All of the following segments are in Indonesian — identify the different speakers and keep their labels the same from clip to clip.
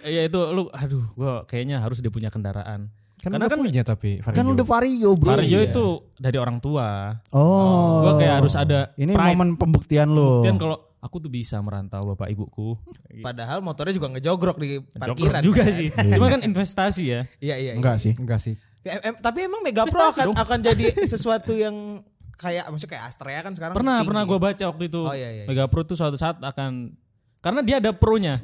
Speaker 1: ya itu lu aduh gua kayaknya harus dia punya kendaraan.
Speaker 2: Kan
Speaker 1: Karena
Speaker 2: udah
Speaker 1: kan
Speaker 2: punya tapi Vario. Iya.
Speaker 3: Kan udah vario bro.
Speaker 1: Vario itu dari orang tua.
Speaker 3: Oh.
Speaker 1: Gua kayak harus ada
Speaker 2: Ini
Speaker 1: pride.
Speaker 2: momen pembuktian lo.
Speaker 1: Dan kalau aku tuh bisa merantau bapak ibuku.
Speaker 3: Padahal motornya juga ngejogrok di
Speaker 1: Joker
Speaker 3: parkiran.
Speaker 1: juga
Speaker 3: kan?
Speaker 1: sih. Cuma kan investasi ya.
Speaker 3: Iya iya. iya.
Speaker 2: Enggak sih.
Speaker 4: Enggak sih.
Speaker 3: Em- em- tapi emang Mega Pro
Speaker 1: Prestasi
Speaker 3: akan
Speaker 1: dong.
Speaker 3: akan jadi sesuatu yang kayak maksudnya kayak Astrea kan sekarang
Speaker 1: Pernah
Speaker 3: tinggi.
Speaker 1: pernah gua baca waktu itu.
Speaker 3: Oh, iya, iya, iya.
Speaker 1: Mega Pro tuh suatu saat akan karena dia ada pro-nya.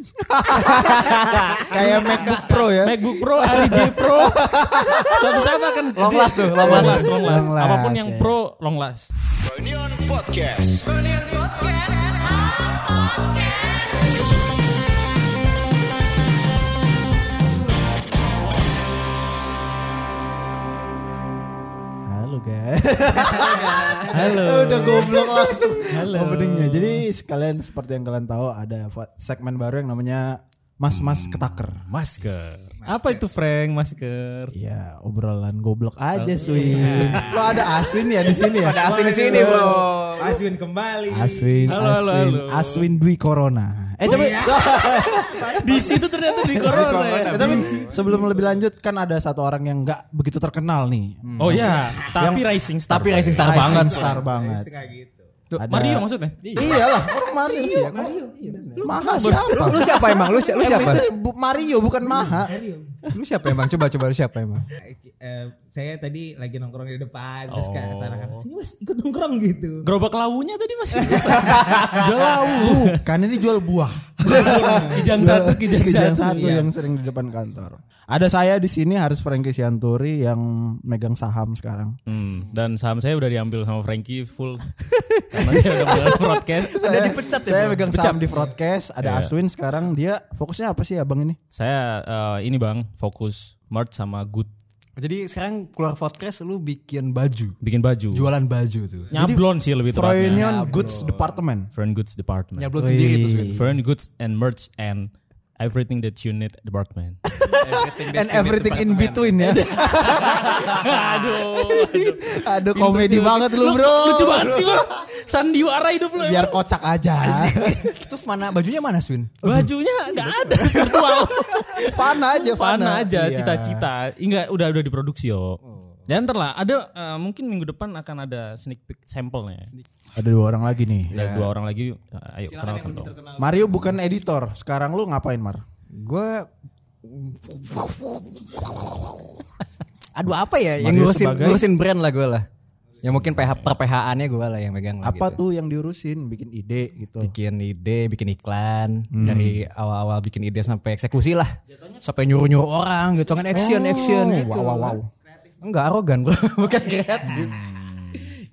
Speaker 2: Kayak MacBook Pro ya.
Speaker 1: MacBook Pro, RJ Pro. suatu saat akan
Speaker 3: Long last tuh, long last.
Speaker 1: long last.
Speaker 2: Long last,
Speaker 1: Apapun yang
Speaker 2: ya.
Speaker 1: pro long last.
Speaker 5: Reunion Podcast.
Speaker 2: Halo guys. Halo. Udah goblok langsung openingnya. Jadi sekalian seperti yang kalian tahu ada fa- segmen baru yang namanya Mas
Speaker 1: Hmm.
Speaker 2: Mas Ketaker.
Speaker 1: Masker. Apa itu Frank masker?
Speaker 2: Iya, obrolan goblok aja
Speaker 1: Oh,
Speaker 2: Swin.
Speaker 1: iya.
Speaker 2: Kok ada Aswin ya di sini ya?
Speaker 3: Ada Aswin di sini bro. Aswin kembali.
Speaker 2: Aswin,
Speaker 1: Halo, halo,
Speaker 2: Aswin,
Speaker 1: halo.
Speaker 2: Aswin Dwi Corona. Eh tapi,
Speaker 3: Iya.
Speaker 1: Di situ ternyata di corona. ya.
Speaker 2: eh, tapi sebelum lebih lanjut kan ada satu orang yang nggak begitu terkenal nih.
Speaker 1: Oh ya, tapi rising star. Tapi rising
Speaker 2: Rising star banget.
Speaker 3: Kayak gitu.
Speaker 2: Ada-
Speaker 1: Mario maksudnya?
Speaker 2: Iyalah, orang Mario. Iya, Mario. Maha siapa?
Speaker 4: Lu siapa emang? Lu, si- lu
Speaker 2: Em,
Speaker 4: siapa?
Speaker 2: itu Bu- Mario bukan Maha.
Speaker 4: Lu siapa emang? Coba coba lu siapa emang?
Speaker 3: Eh, saya tadi lagi nongkrong di depan terus kayak tanah kan. Sini Mas ikut nongkrong gitu.
Speaker 1: Gerobak launya tadi masih. Jual lawu.
Speaker 2: Bukan ini jual buah.
Speaker 1: Kijang satu, kijang
Speaker 2: Kijang
Speaker 1: satu.
Speaker 2: satu yang sering di depan kantor. Ada saya di sini harus Frankie Sianturi yang megang saham sekarang.
Speaker 1: Hmm, dan saham saya udah diambil sama Frankie full. Karena dia udah mulai broadcast.
Speaker 2: Saya dipecat ya. Saya megang saham di broadcast. Ada Aswin sekarang dia fokusnya apa sih abang ini?
Speaker 1: Saya eh, ini bang fokus merch sama good
Speaker 4: Jadi sekarang keluar podcast lu bikin baju.
Speaker 1: bikin baju.
Speaker 4: Jualan baju tuh.
Speaker 1: Nyablon sih lebih tepatnya.
Speaker 2: Froynion Goods Department.
Speaker 1: Friend Goods Department.
Speaker 4: Nyablot sendiri tuh. Swin.
Speaker 1: Friend Goods and merch and everything that you need department.
Speaker 2: And everything in between ya.
Speaker 1: aduh, aduh.
Speaker 2: Aduh komedi banget lu bro.
Speaker 1: Gitu, Lucu banget sih bro. Sandiwara hidup lu.
Speaker 2: Biar kocak aja.
Speaker 4: Terus mana bajunya mana Swin?
Speaker 1: Bajunya nggak ada virtual.
Speaker 2: Fun aja, fun
Speaker 1: Fana aja
Speaker 2: Iya.
Speaker 1: cita-cita. Enggak udah udah diproduksi yo. Dan ntar lah ada eh, mungkin minggu depan akan ada sneak peek sampelnya. ya.
Speaker 2: Ada dua orang lagi nih.
Speaker 1: Ada dua orang lagi. eh, Ayo kenalkan dong.
Speaker 2: Mario bukan editor. Sekarang lu ngapain Mar?
Speaker 4: Gue Aduh apa ya yang
Speaker 2: Mario
Speaker 4: ngurusin
Speaker 2: sebagai-
Speaker 4: ngurusin brand lah gue lah. Yang mungkin PH per PH-annya gue lah yang megang lah
Speaker 2: Apa
Speaker 4: gitu.
Speaker 2: tuh yang diurusin? Bikin ide gitu.
Speaker 4: Bikin ide, bikin iklan dari awal-awal bikin ide sampai eksekusi lah. Sampai nyuruh-nyuruh orang gitu kan action action
Speaker 2: Oh,
Speaker 4: gitu.
Speaker 2: Wow, wow, wow.
Speaker 4: Enggak arogan bro, bukan kreatif.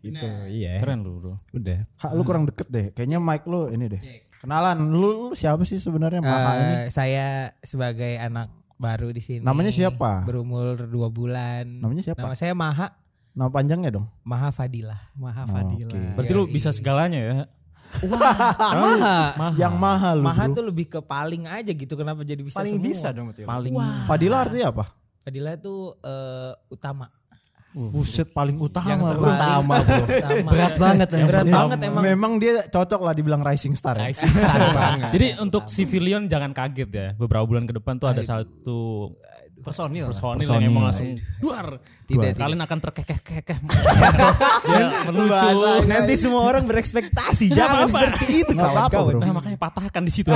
Speaker 4: gitu, iya.
Speaker 1: Keren lu bro.
Speaker 4: Udah.
Speaker 2: Hak lu kurang deket deh. Kayaknya mic lu ini deh. Kenalan lu, lu siapa sih sebenarnya? Maha ini.
Speaker 3: Eh, saya sebagai anak baru di sini.
Speaker 2: Namanya siapa?
Speaker 3: Berumur dua bulan.
Speaker 2: Namanya siapa?
Speaker 3: Nama saya Maha
Speaker 2: Nama panjangnya dong.
Speaker 3: Maha Fadilah.
Speaker 4: Maha Fadila.
Speaker 1: Berarti lu bisa segalanya ya.
Speaker 4: Ah, Maha.
Speaker 2: Yang mahal lu.
Speaker 3: Maha tuh lebih ke paling aja gitu. Kenapa jadi bisa
Speaker 4: Paling
Speaker 3: semua?
Speaker 4: bisa dong ya. betul.
Speaker 1: Paling
Speaker 2: Fadila artinya apa?
Speaker 3: Fadilah tuh eh, utama.
Speaker 2: Buset paling utama.
Speaker 4: Yang
Speaker 2: Bro.
Speaker 4: terutama
Speaker 3: Utama.
Speaker 4: bro.
Speaker 3: Iya.
Speaker 4: Berat banget ya, Iya. emang.
Speaker 3: Berat
Speaker 2: Utama.
Speaker 3: banget emang.
Speaker 2: Memang dia cocok lah dibilang Iya. rising star. Ya?
Speaker 1: Jadi untuk civilian jangan kaget ya. Beberapa bulan ke depan tuh ada satu
Speaker 4: Personil.
Speaker 1: personil yang emang langsung duar.
Speaker 3: Tidak, tidak.
Speaker 1: Kalian akan terkekeh-kekeh. Dia melucu.
Speaker 3: Nanti semua orang berekspektasi.
Speaker 1: Nggak
Speaker 3: Jangan
Speaker 1: apa-apa.
Speaker 3: seperti itu
Speaker 2: Gitu, Nggak apa-apa,
Speaker 3: kawan-kawan.
Speaker 2: bro.
Speaker 1: Nah makanya patahkan di situ.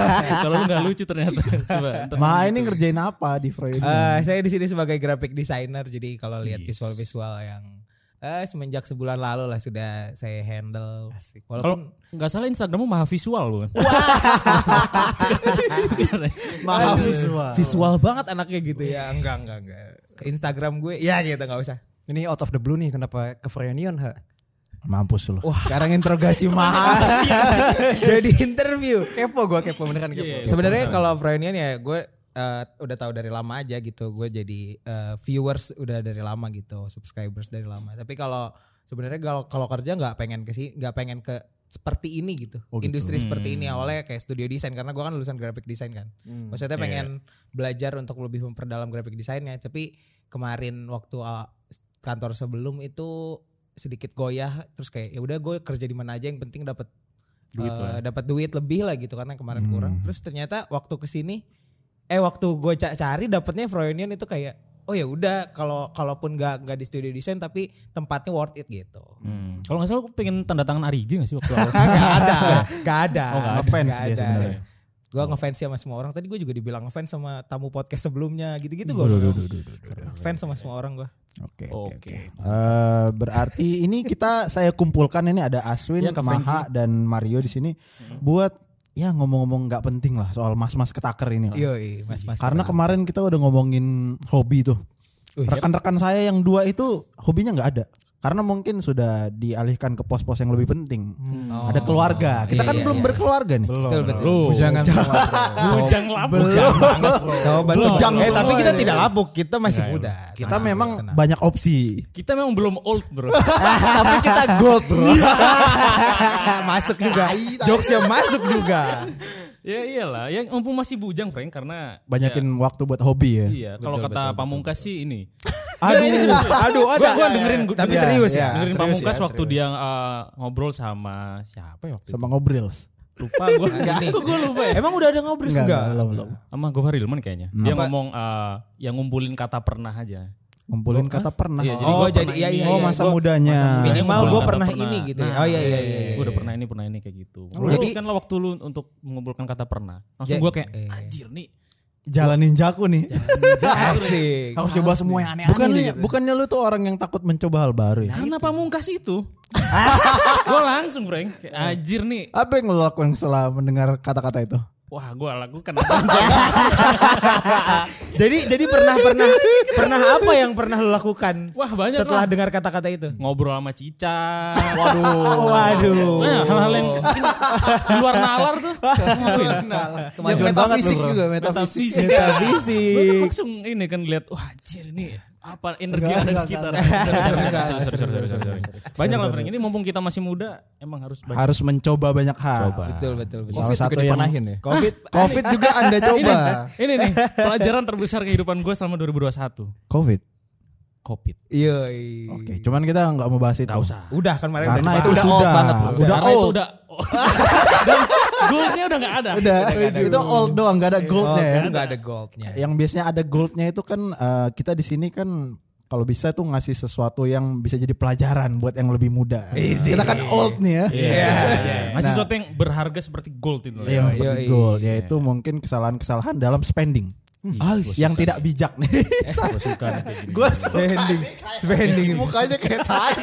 Speaker 1: Kalau lu nggak lucu ternyata. Coba. ntar.
Speaker 2: Ma ini ngerjain apa di Freud?
Speaker 3: Eh, saya di sini sebagai graphic designer jadi kalau lihat visual-visual yang eh, semenjak sebulan lalu lah sudah saya handle.
Speaker 1: Kalau
Speaker 3: Walaupun
Speaker 1: nggak salah Instagrammu maha visual bukan?
Speaker 2: Maaf visual.
Speaker 3: visual banget anaknya gitu ya. Enggak, enggak, enggak. Ke Instagram gue ya gitu nggak usah.
Speaker 4: Ini out of the blue nih kenapa ke Frenion ha?
Speaker 2: Mampus lu. Sekarang interogasi mahal.
Speaker 3: jadi interview.
Speaker 4: Kepo gua kepo beneran
Speaker 2: Iya,
Speaker 4: kepo.
Speaker 3: Sebenarnya kalau Frenian ya gue eh, udah tahu dari lama aja gitu. Gue jadi eh, viewers udah dari lama gitu, subscribers dari lama. Tapi kalau sebenarnya kalau kalau kerja nggak pengen ke sini, nggak pengen ke seperti ini gitu. Industri seperti ini awalnya kayak studio desain karena gue kan lulusan graphic design kan.
Speaker 4: Hmm,
Speaker 3: Maksudnya pengen belajar untuk lebih memperdalam graphic desainnya, tapi kemarin waktu uh, kantor sebelum itu sedikit goyah terus kayak ya udah gue kerja di mana aja yang penting uh, dapat duit dapat duit lebih lah gitu karena kemarin kurang terus ternyata waktu kesini eh waktu gue ca- cari dapetnya Froyonion itu kayak oh ya udah kalau kalaupun nggak nggak di studio design tapi tempatnya worth it gitu.
Speaker 1: Hmm. Kalau nggak salah aku pengen tanda tangan Ariji nggak sih waktu awal?
Speaker 3: Gak ada, gak ada.
Speaker 2: Oh, nggak ada. Ngefans dia
Speaker 3: Nggak ada.
Speaker 2: sebenarnya.
Speaker 3: Gue ngefans sama semua orang. Tadi gue juga dibilang ngefans sama tamu podcast sebelumnya gitu-gitu gue. Fans sama semua orang gue.
Speaker 2: Oke.
Speaker 1: Oke.
Speaker 2: Eh, berarti ini kita saya kumpulkan ini ada
Speaker 1: Ya,
Speaker 2: Aswin,
Speaker 1: Kak
Speaker 2: Maha dan Mario di sini buat ya ngomong-ngomong nggak penting lah soal mas-mas ketaker ini. Lah.
Speaker 3: Yoi, Iya, mas mas.
Speaker 2: Karena kemarin kita udah ngomongin hobi tuh. Rekan-rekan saya yang dua itu hobinya nggak ada. Karena mungkin sudah dialihkan ke pos-pos yang lebih penting. Ada keluarga. Kita
Speaker 3: Iya,
Speaker 2: kan
Speaker 3: iya,
Speaker 2: belum
Speaker 3: iya.
Speaker 2: berkeluarga nih.
Speaker 3: betul betul.
Speaker 4: Jangan
Speaker 1: Bujang lapuk. Bujang banget bro.
Speaker 3: Sobat Iya,
Speaker 1: Belum.
Speaker 3: Bujang. Eh tapi
Speaker 2: semua
Speaker 3: kita
Speaker 2: ini.
Speaker 3: tidak labuk, kita masih muda.
Speaker 2: Kita
Speaker 3: Masih
Speaker 2: memang
Speaker 3: tenang.
Speaker 2: banyak opsi.
Speaker 1: Kita memang belum old bro.
Speaker 2: Tapi kita gold bro.
Speaker 3: masuk juga. Jokesnya masuk juga.
Speaker 1: ya iyalah. Yang mumpung masih bujang Frank karena
Speaker 2: Banyakin waktu buat hobi ya.
Speaker 1: Iya, kalau kata Pamungkas sih ini.
Speaker 3: Aduh,
Speaker 1: aduh, ada. Gua, dengerin gua,
Speaker 3: Tapi
Speaker 1: iya,
Speaker 3: serius ya,
Speaker 1: Dengerin
Speaker 3: serius
Speaker 1: Pamungkas
Speaker 3: ya,
Speaker 1: waktu dia uh, ngobrol sama siapa ya waktu itu?
Speaker 2: Sama ngobrol.
Speaker 1: Lupa gua. gua lupa ya.
Speaker 3: Emang udah ada ngobrol
Speaker 2: Enggak,
Speaker 3: enggak?
Speaker 2: belum, belum.
Speaker 1: Sama Gofar Hilman kayaknya. Dia ngomong uh, yang ngumpulin kata pernah aja.
Speaker 2: Ngumpulin kata pernah.
Speaker 1: Iya, jadi
Speaker 3: Oh
Speaker 1: gua
Speaker 3: jadi
Speaker 1: pernah
Speaker 3: iya
Speaker 1: ini.
Speaker 3: iya.
Speaker 2: oh
Speaker 3: iya.
Speaker 2: masa
Speaker 3: Gua-
Speaker 2: mudanya.
Speaker 3: Minimal
Speaker 1: Gua
Speaker 3: gue
Speaker 1: udah
Speaker 3: pernah
Speaker 1: pernah. Nah,
Speaker 3: ini gitu. ya. Oh iya iya iya. Oh,
Speaker 1: Gua udah pernah ini, pernah ini kayak gitu. Lu
Speaker 3: Jadi-
Speaker 1: habiskanlah waktu lu untuk mengumpulkan kata pernah. Langsung
Speaker 3: Ya,
Speaker 1: gua kayak
Speaker 3: iya.
Speaker 1: anjir nih.
Speaker 2: Jalan ninjaku nih.
Speaker 3: Asik.
Speaker 4: Harus coba semua yang aneh-aneh.
Speaker 2: Bukannya, bukannya lu tuh orang yang takut mencoba hal baru
Speaker 3: Nah,
Speaker 2: ya?
Speaker 1: Karena Pamungkas itu. gua langsung, Frank. Kayak, Anjir nih.
Speaker 2: Apa yang lo lakukan setelah mendengar kata-kata itu?
Speaker 1: Wah, gua lakukan
Speaker 3: Jadi jadi pernah pernah pernah apa yang pernah lo lakukan?
Speaker 1: Wah, banyak
Speaker 3: Setelah
Speaker 1: lah.
Speaker 3: dengar kata-kata itu.
Speaker 1: ngobrol sama Cica.
Speaker 3: Waduh. Waduh.
Speaker 1: Nah, hal-hal yang mungkin di luar nalar tuh. Ngapain? Nah,
Speaker 4: Kemajuan banget lu, bro.
Speaker 2: juga,
Speaker 1: Metafisik.
Speaker 3: Metafisik.
Speaker 1: Gua kan langsung ini kan lihat wah anjir ini apa energi yang ada di sekitar. Sorry, sorry, sorry, sorry, sorry. Banyak lah Frank. Ini mumpung kita masih muda emang harus banyak
Speaker 2: Harus mencoba banyak hal.
Speaker 3: Betul betul betul.
Speaker 2: Salah satu yang
Speaker 4: ya.
Speaker 3: Covid
Speaker 2: Covid juga Anda coba.
Speaker 1: Ini nih pelajaran terbesar kehidupan gue selama 2021.
Speaker 2: Covid.
Speaker 1: Covid.
Speaker 3: Iya.
Speaker 2: Oke, cuman kita nggak mau bahas itu.
Speaker 1: Gak usah.
Speaker 3: Udah kan kemarin
Speaker 2: Karena itu
Speaker 3: dibahas.
Speaker 2: sudah
Speaker 4: old banget, bro.
Speaker 2: udah
Speaker 1: Karena itu
Speaker 2: old.
Speaker 1: udah. Dan goalnya udah gak ada.
Speaker 2: Udah, itu old doang, nggak ada
Speaker 3: Oh,
Speaker 2: goldnya ya.
Speaker 3: itu nggak ada goldnya.
Speaker 2: yang biasanya ada goldnya itu kan eh, kita di sini kan kalau bisa tuh ngasih sesuatu yang bisa jadi pelajaran buat yang lebih muda. Kita kan old nih ya.
Speaker 1: Iya. Masih sesuatu yang berharga seperti gold itu.
Speaker 3: Oh,
Speaker 2: Yang seperti
Speaker 3: Yoi.
Speaker 2: gold
Speaker 1: Iya.
Speaker 2: yaitu Ya, mungkin kesalahan-kesalahan dalam spending.
Speaker 1: Hmm.
Speaker 2: Ah, yang tidak bijak nih.
Speaker 1: Eh, Gua suka nih kayak gini.
Speaker 2: Gua spending.
Speaker 3: Spending.
Speaker 2: Mukanya kayak tai.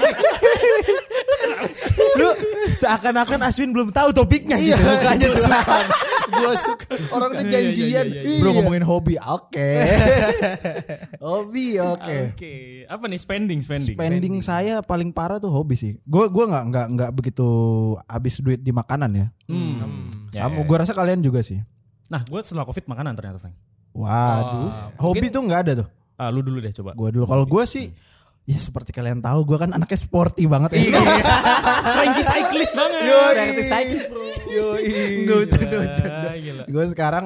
Speaker 3: Lu seakan-akan Aswin belum tahu topiknya gitu. Mukanya tuh.
Speaker 2: Gua suka. Orang udah
Speaker 1: Iya, iya,
Speaker 2: janjian.
Speaker 1: iya,
Speaker 2: Bro ngomongin hobi. Oke. hobi oke.
Speaker 1: Oke. Apa nih spending spending?
Speaker 2: spending saya paling parah tuh hobi sih. Gue gua nggak nggak nggak begitu habis duit di makanan ya.
Speaker 3: Hmm.
Speaker 1: Ya,
Speaker 2: Sama gue rasa kalian juga sih.
Speaker 1: Hmm. Nah, gue setelah covid makanan ternyata Frank.
Speaker 2: Waduh,
Speaker 1: Oh,
Speaker 2: hobi tuh nggak ada tuh.
Speaker 1: Ah, lu dulu deh coba.
Speaker 2: Gue dulu kalau gue sih ya seperti kalian tahu gue kan anaknya sporty banget ya.
Speaker 1: Frankie cyclist banget.
Speaker 2: Anaknya cyclist, bro. Nggak bercanda, bercanda.
Speaker 1: Ah, gila.
Speaker 2: Gue sekarang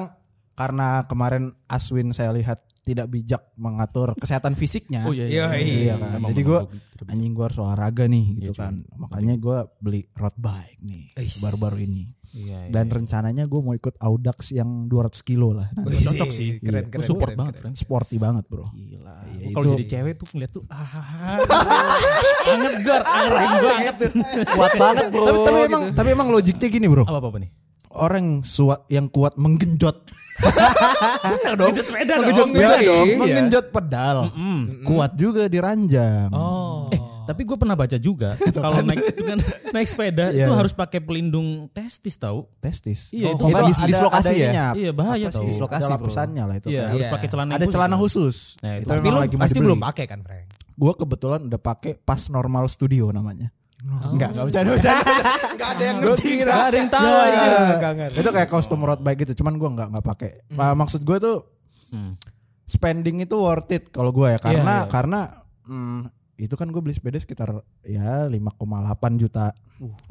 Speaker 2: karena kemarin Aswin saya lihat tidak bijak mengatur kesehatan fisiknya.
Speaker 1: Oh iya iya.
Speaker 2: Iya kan. Jadi gue anjing gue harus olahraga nih gitu kan. Makanya gue beli road bike nih baru-baru ini.
Speaker 1: Iya,
Speaker 2: Dan rencananya gue mau ikut Audax yang 200 kilo lah. Nanti.
Speaker 1: Cocok sih.
Speaker 3: Keren
Speaker 1: Gua
Speaker 3: keren.
Speaker 1: support
Speaker 3: keren,
Speaker 1: banget
Speaker 3: keren.
Speaker 1: Frank.
Speaker 2: Sporty banget bro.
Speaker 1: Iya, Gila.
Speaker 2: Iya,
Speaker 1: Kalau
Speaker 2: itu-
Speaker 1: jadi cewek tuh ngeliat tuh ah, anget gar, anget banget tuh.
Speaker 4: Kuat banget bro.
Speaker 2: Tapi, tapi emang tapi emang logiknya gini bro.
Speaker 1: Apa apa nih?
Speaker 2: Orang suat yang kuat menggenjot.
Speaker 1: Ngejat sepeda dong.
Speaker 2: sepeda dong. Menggenjot pedal. Kuat juga di ranjang.
Speaker 1: Oh. Eh, Tapi gue pernah baca juga kalau naik itu kan naik sepeda itu
Speaker 2: Iya.
Speaker 1: harus pakai pelindung testis tahu?
Speaker 2: Testis. Oh,
Speaker 1: Iya, itu
Speaker 4: nggak dis- dislokasi ya?
Speaker 2: ininya.
Speaker 1: Iya bahaya
Speaker 2: Apa sih?
Speaker 1: tahu.
Speaker 4: Dislokasi,
Speaker 2: Ada
Speaker 4: bro.
Speaker 2: lapisannya lah itu.
Speaker 1: Iya
Speaker 2: kan.
Speaker 1: harus
Speaker 3: Iya.
Speaker 1: pakai celana.
Speaker 2: Ada celana khusus.
Speaker 1: Nah, itu
Speaker 3: Tapi lu pasti belum pakai kan, Frank?
Speaker 2: Gue kebetulan udah pakai pas normal studio namanya.
Speaker 1: Oh.
Speaker 2: Enggak, enggak bercanda, bercanda. Enggak ada yang ngerti.
Speaker 1: Gak ada yang tahu.
Speaker 2: Iya.
Speaker 1: anjir.
Speaker 2: Itu kayak custom road bike gitu, cuman gue enggak enggak pakai.
Speaker 1: Hmm.
Speaker 2: Nah, maksud gue tuh
Speaker 3: Hmm.
Speaker 2: spending itu worth it kalau gue ya karena
Speaker 1: iya.
Speaker 2: karena mm, itu kan gue beli sepeda sekitar ya 5,8 juta.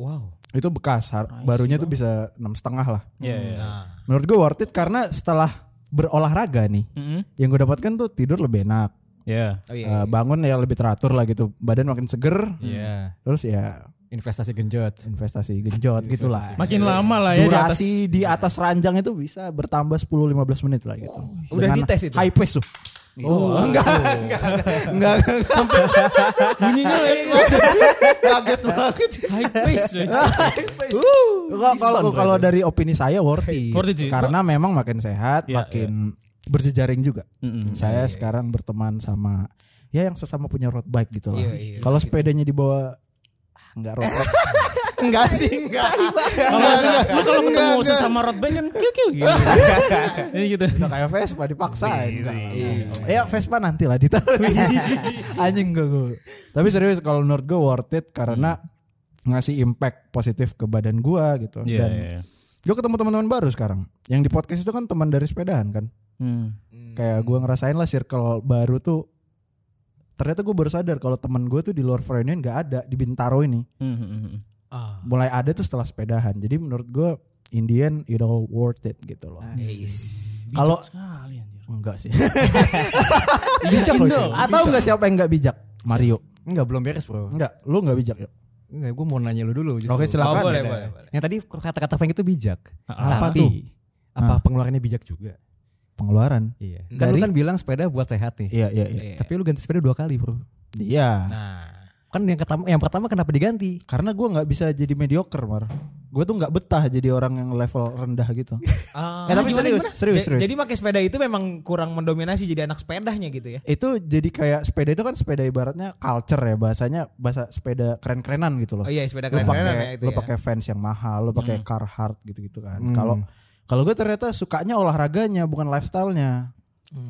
Speaker 3: Wow.
Speaker 2: Itu bekas, har- barunya tuh bisa enam setengah lah.
Speaker 1: Iya. iya.
Speaker 2: Menurut gue worth it karena setelah berolahraga nih,
Speaker 1: Mm-mm.
Speaker 2: yang gue dapatkan tuh tidur lebih enak,
Speaker 1: Iya.
Speaker 3: Oh iya.
Speaker 2: Eh, bangun ya lebih teratur lah gitu, badan makin seger,
Speaker 1: Iya.
Speaker 2: terus ya
Speaker 4: investasi genjot.
Speaker 2: investasi genjot gitulah.
Speaker 1: Makin lama lah ya di atas.
Speaker 2: Durasi di atas ranjang itu bisa bertambah 10-15 menit lah gitu.
Speaker 3: Udah dites itu?
Speaker 2: High pace tuh. Oh, enggak, enggak, enggak, enggak,
Speaker 1: Bunyinya eh.
Speaker 2: kaget banget.
Speaker 1: high pace. coy.
Speaker 2: High pace. Kalau- Kalau kalau dari opini saya worth it.
Speaker 1: Worth it sih.
Speaker 2: Karena memang makin sehat,
Speaker 1: Iya,
Speaker 2: makin berjejaring juga. Saya sekarang berteman sama ya yang sesama punya road bike gitu lah.
Speaker 3: Iya, iya.
Speaker 2: Kalau sepedanya dibawa ah, enggak road bike. enggak sih, enggak.
Speaker 1: Kalau lu kalau ketemu sesama road bike kan kiu kiu gitu. Jadi gitu.
Speaker 2: Udah kayak Vespa dipaksain. Enggak lah. Ya Vespa nanti lah ditaruh. Anjing gue, gue. Tapi serius kalau menurut gue worth it karena ngasih impact positif ke badan gua gitu.
Speaker 1: Iya,
Speaker 2: Dan
Speaker 1: iya, iya.
Speaker 2: gue ketemu teman-teman baru sekarang. Yang di podcast itu kan teman dari sepedaan kan.
Speaker 1: Hmm.
Speaker 2: Kayak gua ngerasain lah circle baru tuh. Ternyata gue baru sadar kalau teman gue tuh di luar Freudian gak ada di Bintaro ini.
Speaker 1: Hmm, hmm, hmm.
Speaker 2: Uh,
Speaker 3: Ah,
Speaker 2: Mulai ada tuh setelah sepedahan. Jadi menurut gue Indian it all worth it gitu loh.
Speaker 3: iya,
Speaker 2: Kalau
Speaker 1: Sekali anjir.
Speaker 2: Enggak sih. bijak loh. Atau enggak siapa yang enggak bijak? Mario.
Speaker 4: Enggak belum beres bro.
Speaker 2: Enggak, lu enggak bijak yuk.
Speaker 4: Enggak, gue mau nanya lu dulu. justru.
Speaker 2: Oke, silakan.
Speaker 3: Oh,
Speaker 2: Ah,
Speaker 3: boleh, boleh, boleh.
Speaker 4: Yang tadi kata-kata Frank itu bijak.
Speaker 2: Apa
Speaker 4: Tapi
Speaker 2: tuh? Ah.
Speaker 4: apa pengeluarannya bijak juga?
Speaker 2: Pengeluaran.
Speaker 4: Iya. Kan lu kan bilang sepeda buat sehat nih.
Speaker 2: Iya, iya, iya.
Speaker 4: Tapi lu ganti sepeda dua kali bro.
Speaker 2: Iya.
Speaker 3: Nah,
Speaker 4: Kan yang pertama, yang pertama kenapa diganti?
Speaker 2: Karena gua nggak bisa jadi mediocre, Mar. Gue tuh nggak betah jadi orang yang level rendah gitu.
Speaker 3: Ah.
Speaker 2: Eh, tapi
Speaker 3: Gimana,
Speaker 2: serius,
Speaker 3: gimana?
Speaker 2: serius,
Speaker 3: Ja-
Speaker 2: serius.
Speaker 3: Jadi pakai sepeda itu memang kurang mendominasi jadi anak sepedanya gitu ya.
Speaker 2: itu jadi kayak sepeda itu kan sepeda ibaratnya culture ya bahasanya bahasa sepeda keren-kerenan gitu loh.
Speaker 3: Oh iya, sepeda
Speaker 2: lu
Speaker 3: keren-kerenan ya
Speaker 2: pakai
Speaker 3: itu
Speaker 2: lu
Speaker 3: ya.
Speaker 2: pakai fans yang mahal, lu pakai Carhartt gitu-gitu kan. Kalau kalau gue ternyata sukanya olahraganya bukan lifestyle-nya.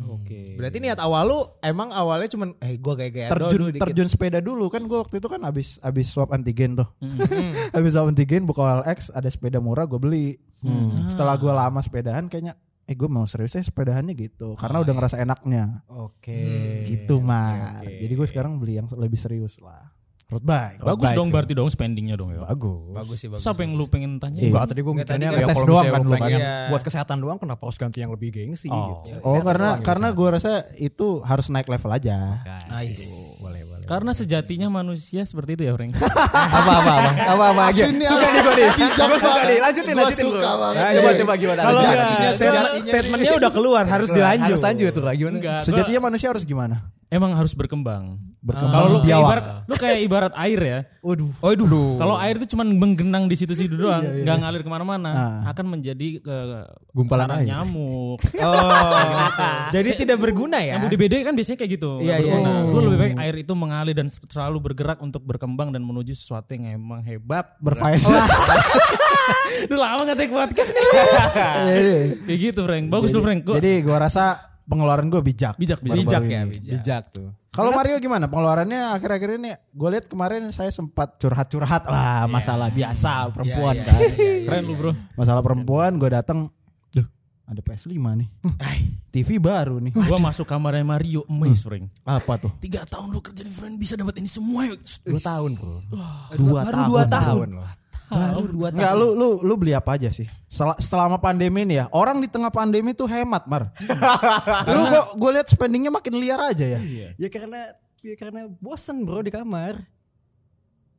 Speaker 1: Oke.
Speaker 3: Berarti niat awal lu emang awalnya cuman eh gua kayak gaya
Speaker 2: terjun terjun sepeda dulu kan gue waktu itu kan abis abis swab antigen tuh
Speaker 4: Mm-hmm.
Speaker 2: abis swab antigen buka LX ada sepeda murah gue beli
Speaker 4: Hmm.
Speaker 2: Hmm. setelah gue lama sepedahan kayaknya eh gue mau serius ya sepedahannya gitu karena udah ngerasa enaknya
Speaker 4: Oke.
Speaker 2: gitu mah jadi gue sekarang beli yang lebih serius lah road bike
Speaker 1: Bagus
Speaker 4: Baik,
Speaker 1: dong berarti dong spendingnya dong ya.
Speaker 4: Bagus.
Speaker 3: Bagus sih bagus.
Speaker 1: Siapa yang lu pengen tanya?
Speaker 4: Enggak tadi gue mikirnya
Speaker 2: kan
Speaker 4: ya
Speaker 2: tes
Speaker 4: kalau
Speaker 2: doang
Speaker 4: misalnya
Speaker 2: kan
Speaker 4: lu
Speaker 2: lu
Speaker 4: pengen
Speaker 3: kan. Iya.
Speaker 4: buat kesehatan doang kenapa harus ganti yang lebih gengsi gitu.
Speaker 2: oh karena karena gue rasa itu harus naik level aja
Speaker 3: Ais.
Speaker 2: Iya,
Speaker 1: Karena sejatinya manusia seperti itu ya, Frank.
Speaker 4: apa apa apa apa apa aja. Suka nih gue nih. Gue suka nih. Lanjutin lanjutin bro. Coba coba gimana?
Speaker 2: Nah, iya. Kalau
Speaker 4: Lanjut.
Speaker 2: enggak,
Speaker 4: Sejatinya
Speaker 2: sejatinya-
Speaker 3: Statementnya udah keluar harus
Speaker 4: Lanjut.
Speaker 3: dilanjut.
Speaker 4: Harus lanjut tuh gimana?
Speaker 1: Enggak. gua-
Speaker 2: sejatinya manusia harus gimana
Speaker 1: emang harus berkembang.
Speaker 2: Berkembang
Speaker 1: Kalau lu kayak
Speaker 2: biawak.
Speaker 1: ibarat lu kayak ibarat air ya.
Speaker 2: waduh
Speaker 3: Oh, dulu.
Speaker 1: Kalau air itu cuman menggenang di situ-situ doang, nggak ngalir kemana-mana, akan menjadi ke
Speaker 4: Gumpalan
Speaker 1: sarang
Speaker 4: air.
Speaker 1: nyamuk.
Speaker 2: Iya.
Speaker 3: Oh. Jadi tidak berguna ya.
Speaker 1: Nyamuk di BD kan biasanya kayak gitu.
Speaker 3: Iya, iya,
Speaker 1: Nah, Lu lebih baik air itu mengalir dan selalu bergerak untuk berkembang dan menuju sesuatu yang emang hebat.
Speaker 2: berfaedah
Speaker 4: Oh,
Speaker 1: Lu lama nggak take podcast nih. kayak gitu, Frank. Bagus lu, Frank. Gua
Speaker 2: jadi gue rasa pengeluaran gue bijak
Speaker 1: bijak, bijak.
Speaker 3: Bijak
Speaker 2: baru
Speaker 3: ya,
Speaker 2: ini.
Speaker 3: bijak.
Speaker 4: Bijak tuh.
Speaker 2: Kalau Mario gimana pengeluarannya akhir-akhir ini? Gue lihat kemarin saya sempat curhat-curhat lah masalah biasa perempuan kan.
Speaker 3: Iya.
Speaker 1: Keren lu, Bro.
Speaker 2: Masalah perempuan gue datang, duh ada PS5 nih. TV baru nih.
Speaker 1: Gua masuk kamarnya Mario, amazed, Frank.
Speaker 3: Hmm.
Speaker 2: Apa tuh?
Speaker 1: Tiga tahun lu kerja di Friend bisa dapat ini semua. ya.
Speaker 4: Dua tahun bro.
Speaker 2: Dua
Speaker 3: baru
Speaker 2: tahun.
Speaker 3: dua tahun.
Speaker 4: loh.
Speaker 3: Baru dua tahun.
Speaker 2: Enggak lu lu lu beli apa aja sih? Sel- Selama pandemi nih ya. Orang di tengah pandemi tuh hemat, Mar. lu kok gue lihat spendingnya makin liar aja ya.
Speaker 4: Ya karena ya karena bosen bro di kamar.
Speaker 2: Kan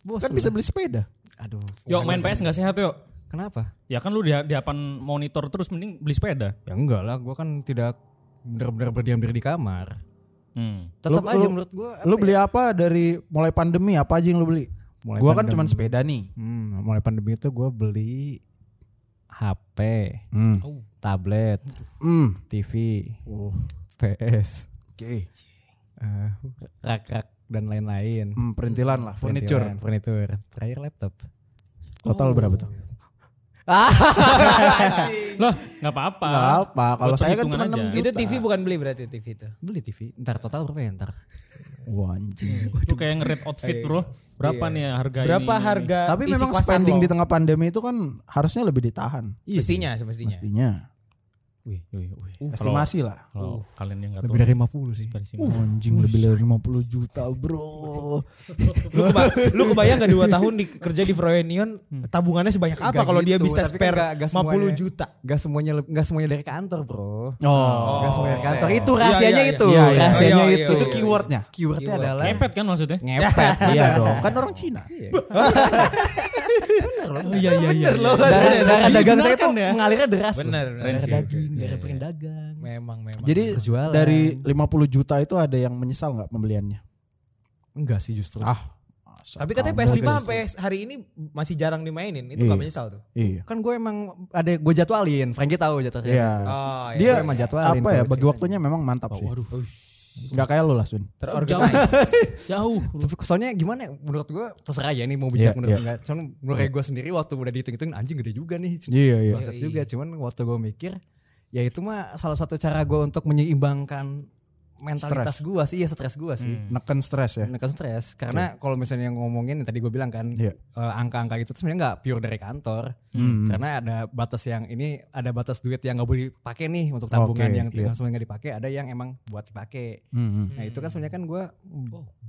Speaker 4: Bosen.
Speaker 2: bisa beli sepeda.
Speaker 4: Aduh.
Speaker 1: Yuk main PS nggak sehat yuk.
Speaker 4: Kenapa?
Speaker 1: Ya kan lu di di depan monitor terus mending beli sepeda.
Speaker 4: Ya enggak lah. Gue kan tidak benar-benar berdiam diri di kamar.
Speaker 1: Hmm.
Speaker 4: Tetap
Speaker 2: Lu-
Speaker 4: aja
Speaker 2: lu-
Speaker 4: menurut ya? gue.
Speaker 2: Lu beli apa dari mulai pandemi? Apa aja yang lu beli?
Speaker 4: Mulai
Speaker 2: Gue kan
Speaker 4: pandemi.
Speaker 2: cuman sepeda nih.
Speaker 4: Hmm, mulai pandemi itu gue beli HP,
Speaker 2: Hmm.
Speaker 4: tablet,
Speaker 2: Hmm.
Speaker 4: TV, PS,
Speaker 2: Oke.
Speaker 4: eh, rak-rak dan lain-lain.
Speaker 2: Hmm, perintilan lah, furniture.
Speaker 4: Perintilan, furniture. Terakhir laptop.
Speaker 2: Total berapa tuh?
Speaker 1: Loh, nggak apa-apa.
Speaker 2: Nggak apa, kalau
Speaker 1: Buat
Speaker 2: saya kan
Speaker 1: perhitungan
Speaker 2: cuma
Speaker 1: aja.
Speaker 2: enam
Speaker 3: Itu TV bukan beli berarti TV itu.
Speaker 1: Nah,
Speaker 4: Beli TV. Ntar total berapa ya ntar?
Speaker 2: Wah anjing.
Speaker 1: Lu kayak nge-rate outfit, Bro. Berapa nih harga ini?
Speaker 3: Iya. Berapa
Speaker 1: ini, Iya ini?
Speaker 3: harga
Speaker 2: Tapi
Speaker 3: isi
Speaker 2: memang
Speaker 3: kosan
Speaker 2: spending
Speaker 3: lo? Iya.
Speaker 2: di tengah pandemi itu kan harusnya lebih ditahan.
Speaker 3: Mestinya, semestinya.
Speaker 2: Pastinya.
Speaker 1: Wih, wih, wih.
Speaker 3: Uh,
Speaker 1: Kalau-
Speaker 2: Estimasi lah.
Speaker 1: Kalau kalian yang nggak tahu
Speaker 4: Lebih dari 50 sih.
Speaker 1: dari sini.
Speaker 2: Anjing lebih dari 50 juta, Bro.
Speaker 3: lu, keba- lu kebayang gak dua tahun di, kerja di Froenion
Speaker 1: Hmm.
Speaker 3: tabungannya sebanyak apa kalau dia
Speaker 1: gitu,
Speaker 4: Gitu,
Speaker 3: bisa spare 50 juta
Speaker 4: Gak kan semuanya gak semuanya dari kantor,
Speaker 2: Oh.
Speaker 4: Bro. Gak semuanya dari kantor. Itu
Speaker 3: Iya,
Speaker 4: rahasianya
Speaker 3: iya, iya.
Speaker 4: itu.
Speaker 2: Iya, iya.
Speaker 4: Rahasianya
Speaker 3: Iya, iya,
Speaker 4: itu.
Speaker 3: iya,
Speaker 4: Itu
Speaker 3: iya.
Speaker 4: keywordnya. Keywordnya adalah
Speaker 1: Ngepet kan maksudnya?
Speaker 4: ngepet.
Speaker 2: Iya dong, kan orang Cina.
Speaker 1: Iya, Oh, iya iya iya. iya.
Speaker 4: Darah, darah dagang
Speaker 1: Dibenarkan
Speaker 4: saya tuh
Speaker 1: ya.
Speaker 4: mengalirnya deras.
Speaker 3: Bener,
Speaker 4: loh.
Speaker 3: keren
Speaker 4: Darah
Speaker 3: sih.
Speaker 4: daging, darah pendagang.
Speaker 3: memang memang
Speaker 2: Jadi
Speaker 4: Perjualan.
Speaker 2: dari 50 juta itu ada yang menyesal nggak pembeliannya?
Speaker 4: Enggak sih justru.
Speaker 2: Ah,
Speaker 3: tapi katanya PS5 sampai
Speaker 1: gitu.
Speaker 3: hari ini masih jarang dimainin itu
Speaker 2: Iya.
Speaker 3: gak menyesal tuh
Speaker 2: iya.
Speaker 4: Kan gue emang ada gue jadwalin. Frankie tahu jadwalnya.
Speaker 2: Iya.
Speaker 3: oh,
Speaker 2: Dia
Speaker 4: Gue emang jadwalin
Speaker 2: apa ya
Speaker 4: kalau
Speaker 2: bagi
Speaker 4: ceritanya.
Speaker 2: waktunya memang mantap sih. Waduh. Gak kayak lu lah Sun.
Speaker 3: terorganize
Speaker 1: Jauh.
Speaker 4: Tapi soalnya gimana ya, menurut gue terserah ya nih mau bijak
Speaker 2: Iya,
Speaker 4: menurut
Speaker 2: iya.
Speaker 4: enggak. Cuman menurut gue sendiri waktu udah dihitung-hitung anjing gede juga nih.
Speaker 2: Iya, iya.
Speaker 4: Bangsat juga cuman waktu gue mikir ya itu mah salah satu cara gue untuk menyeimbangkan mentalitas gue sih iya stres gue
Speaker 1: Hmm.
Speaker 4: sih.
Speaker 2: Neken stres ya.
Speaker 4: menekan stres karena kalau misalnya ngomongin yang tadi gue bilang kan
Speaker 2: Iya. Hmm,
Speaker 4: eh, angka-angka itu tuh sebenarnya nggak pure dari kantor karena ada batas yang ini ada batas duit yang nggak boleh dipakai nih untuk tabungan
Speaker 2: Oke,
Speaker 4: yang
Speaker 2: iya.
Speaker 4: langsung nggak dipakai ada yang emang buat dipakai
Speaker 2: hmm,
Speaker 4: nah itu kan sebenarnya kan gue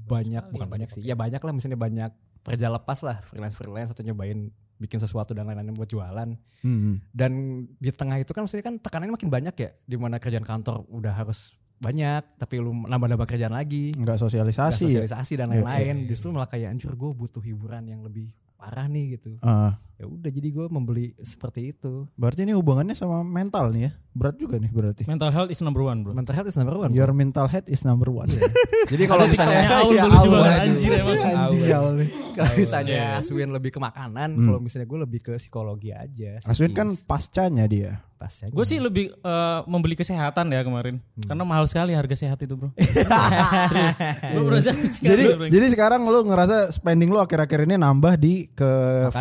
Speaker 4: banyak bukan banyak sih ya banyak lah misalnya banyak kerja lepas lah freelance freelance atau nyobain bikin sesuatu dan lain-lain buat jualan
Speaker 2: Hmm.
Speaker 4: dan di tengah itu kan maksudnya kan tekanannya makin banyak ya di mana kerjaan kantor udah harus banyak tapi lu nambah-nambah kerjaan lagi
Speaker 2: Enggak
Speaker 4: Gak
Speaker 2: sosialisasi. ya.
Speaker 4: sosialisasi dan lain-lain justru malah kayak anjir gue butuh hiburan yang lebih parah nih gitu
Speaker 2: Ah,
Speaker 4: ya udah jadi gue membeli seperti itu
Speaker 2: berarti ini hubungannya sama mental nih ya. Berat juga nih berarti.
Speaker 1: Mental health is number one, bro.
Speaker 4: mental health is number one
Speaker 2: Your mental health is number one.
Speaker 4: jadi kalau misalnya
Speaker 1: Aul
Speaker 2: ya,
Speaker 4: Iya,
Speaker 1: dulu
Speaker 4: Aul.
Speaker 1: juga anjir emang.
Speaker 2: Anjing ya Allah nih. ya. Hmm.
Speaker 4: kalau misalnya Aswin lebih ke makanan kalau misalnya gue lebih ke psikologi aja
Speaker 2: Aswin kan pascanya dia.
Speaker 4: pasnya
Speaker 1: Gue sih lebih eh, membeli kesehatan ya kemarin. Karena mahal sekali harga sehat itu, bro. Serius. Gua merasa sekali,
Speaker 2: Jadi
Speaker 1: bro.
Speaker 2: jadi sekarang lu ngerasa spending lu akhir-akhir ini nambah di ke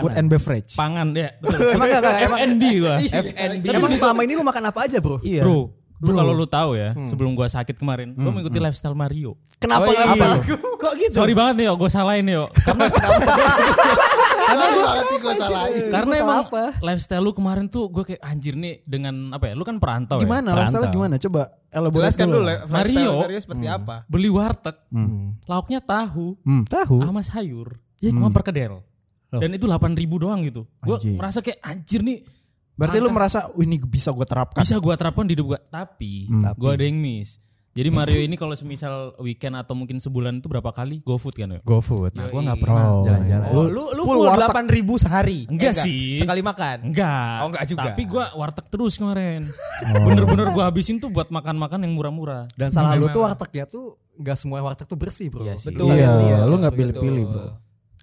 Speaker 2: food and beverage.
Speaker 1: pangan ya. Betul.
Speaker 4: emang gak, emang
Speaker 1: FND gua.
Speaker 3: FNB
Speaker 4: emang selama ini gue makan apa aja bro
Speaker 2: Iya.
Speaker 1: Bro, lu kalau lu tahu ya, sebelum gua sakit kemarin, gua mengikuti lifestyle Mario. Oh,
Speaker 4: kenapa
Speaker 3: Woi,
Speaker 4: kenapa
Speaker 3: iya. kok gitu
Speaker 1: Sorry banget nih, yo, gue salahin nih, yo. Karena
Speaker 2: Karena gua gua salahin.
Speaker 1: karena
Speaker 4: salah
Speaker 1: emang
Speaker 4: apa?
Speaker 1: lifestyle lu kemarin tuh gue kayak anjir nih dengan apa ya? Lu kan perantau ya.
Speaker 2: Gimana? Lifestyle gimana? Coba elaborate
Speaker 3: jelaskan dulu le- lifestyle
Speaker 1: Mario. Hmm.
Speaker 3: Mario seperti apa
Speaker 1: Beli warteg, lauknya tahu,
Speaker 4: tahu
Speaker 1: sama sayur, sama perkedel. Dan itu 8 ribu doang gitu. Gue merasa kayak anjir nih
Speaker 2: Berarti lu merasa "Wih, ini bisa gua terapkan.
Speaker 1: bisa gua terapkan di hidup gue. Tapi gue ada yang miss. Jadi Mario ini kalau semisal weekend atau mungkin sebulan itu berapa kali GoFood kan ya?
Speaker 4: GoFood nah gue gak pernah
Speaker 2: Oh.
Speaker 4: jalan-jalan
Speaker 3: Oh, Iya. lu lu
Speaker 2: full
Speaker 3: full
Speaker 2: warteg.
Speaker 3: delapan ribu sehari
Speaker 1: Enggak
Speaker 3: Eh,
Speaker 1: sih.
Speaker 3: sekali makan
Speaker 1: Enggak.
Speaker 3: Oh, enggak juga.
Speaker 1: Tapi gua warteg terus kemarin. Bener-bener gua habisin tuh buat makan-makan yang murah-murah.
Speaker 4: dan salah lu tuh wartegnya tuh gak semua warteg tuh bersih bro
Speaker 1: Iya sih.
Speaker 4: Lu
Speaker 3: Betul.
Speaker 2: Iya,
Speaker 3: Iya,
Speaker 2: lu nggak
Speaker 3: betul,
Speaker 2: pilih-pilih,
Speaker 3: betul.
Speaker 2: Bro.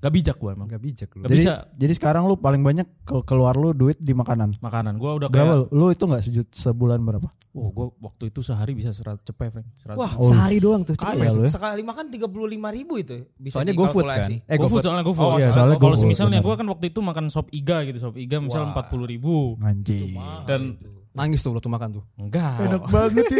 Speaker 1: Gak bijak gua emang.
Speaker 4: gak bijak lu
Speaker 1: Gak
Speaker 2: Jadi,
Speaker 1: bisa
Speaker 2: jadi sekarang lu paling banyak ke- keluar lu duit di makanan.
Speaker 1: makanan. Gua udah
Speaker 3: Iya.
Speaker 1: kayak,
Speaker 2: Berapa lu? Lu itu nggak sejut sebulan berapa?
Speaker 1: wah gua waktu itu sehari bisa serat cepet, Frank. Seratus.
Speaker 3: Wah,
Speaker 4: Oh, sehari doang tuh
Speaker 2: Kaya lu ya.
Speaker 3: Ah, sekali makan tiga puluh lima ribu itu bisa
Speaker 4: soalnya GoFood kan
Speaker 3: dikalkulasi.
Speaker 4: eh
Speaker 1: GoFood
Speaker 4: GoFood
Speaker 1: soalnya GoFood.
Speaker 3: Oh, iya,
Speaker 2: soalnya
Speaker 1: Kalau
Speaker 2: GoFood,
Speaker 1: semisalnya
Speaker 2: benar.
Speaker 1: gua kan waktu itu makan sop iga gitu, sop iga misal empat puluh ribu
Speaker 2: Anjing.
Speaker 1: dan
Speaker 4: nangis tuh lu tuh makan tuh
Speaker 1: enggak.
Speaker 2: Banget ya.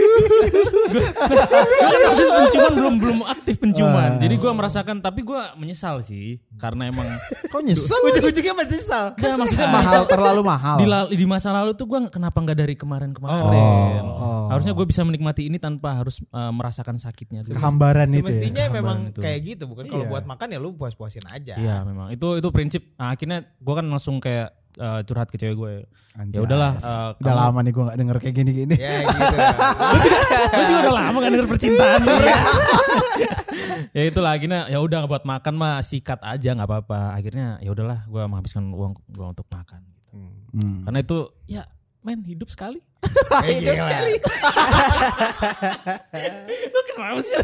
Speaker 1: Masih penciuman belum belum aktif penciuman. Jadi gua merasakan tapi gua menyesal sih karena emang
Speaker 2: Kok nyesel?
Speaker 3: ujung-ujungnya masih sal
Speaker 1: enggak maksudnya
Speaker 2: mahal terlalu mahal.
Speaker 1: di, la- di masa lalu tuh gua kenapa nggak dari kemarin-kemarin. Harusnya gua bisa menikmati ini tanpa harus eh, merasakan sakitnya dulu.
Speaker 2: Kehambaran itu. Iya. Ya.
Speaker 3: Semestinya memang kayak gitu bukan kalau buat makan ya lu puas-puasin aja.
Speaker 1: Iya memang itu itu prinsip. Nah, akhirnya gue kan langsung kayak eh, curhat ke cewek gue. Ya udahlah. eh,
Speaker 2: Udah lama nih gua nggak denger kayak gini-gini.
Speaker 3: Ya gitu.
Speaker 1: gue juga udah lama gak denger percintaan. Iya. ya itulah akhirnya ya udah buat makan mah sikat aja nggak apa-apa. Akhirnya ya udahlah gue menghabiskan uang gue untuk makan. gitu.
Speaker 2: Hmm.
Speaker 4: Hmm.
Speaker 1: Karena itu ya men hidup sekali.
Speaker 3: Hidup gitu sekali.
Speaker 1: Lu kenapa sih?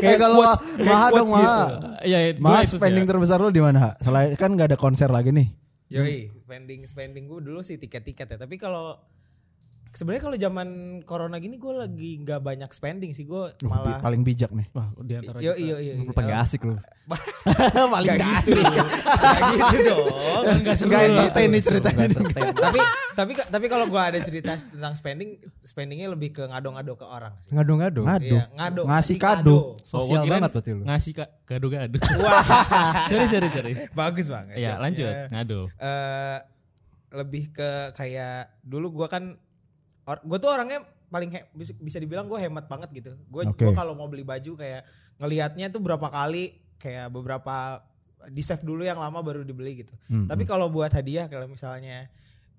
Speaker 2: Kayak kalau
Speaker 3: quotes- kayak
Speaker 2: mahal dong
Speaker 3: quotes gitu. Iya,
Speaker 2: mahal.
Speaker 1: ya itu
Speaker 2: Mahal
Speaker 1: sih ya.
Speaker 2: spending terbesar lu di mana? Ha? Selain kan nggak ada konser lagi nih.
Speaker 3: Yoi, spending spending gue dulu sih tiket-tiket ya. Tapi kalau sebenarnya kalau zaman corona gini gue lagi nggak banyak spending sih gue
Speaker 2: Duh, Uh, bi-
Speaker 3: malah.
Speaker 2: paling bijak nih.
Speaker 1: Wah di antara
Speaker 3: Yo yo yo.
Speaker 4: lu pengen
Speaker 2: Iya.
Speaker 4: asik lu
Speaker 3: Paling gak gitu. Gak gitu dong.
Speaker 1: Enggak seru
Speaker 2: Gak
Speaker 4: Iya, gitu.
Speaker 1: lah.
Speaker 2: entertain nih ceritanya.
Speaker 3: tapi tapi tapi kalau gue ada cerita tentang spending, spendingnya lebih ke ngado-ngado ke orang sih.
Speaker 4: ngado-ngado
Speaker 2: Aduh.
Speaker 3: Iya, ngado.
Speaker 2: Ngasih kado.
Speaker 1: So, Oh, gua
Speaker 4: Sosial
Speaker 1: kirain
Speaker 4: banget berarti lu.
Speaker 1: Ngasih kak gado-gado. sorry sorry sorry.
Speaker 3: Bagus banget. Iya. Eh,
Speaker 1: Ya
Speaker 3: jokesnya.
Speaker 1: lanjut ngado.
Speaker 3: eh lebih ke kayak dulu gua kan or, gue tuh orangnya paling he- bisa, bisa dibilang gue hemat banget gitu gue
Speaker 2: Oke.
Speaker 3: gua kalau mau beli baju kayak ngelihatnya tuh berapa kali kayak beberapa di save dulu yang lama baru dibeli gitu
Speaker 2: Hmm.
Speaker 3: tapi kalau buat hadiah kalau misalnya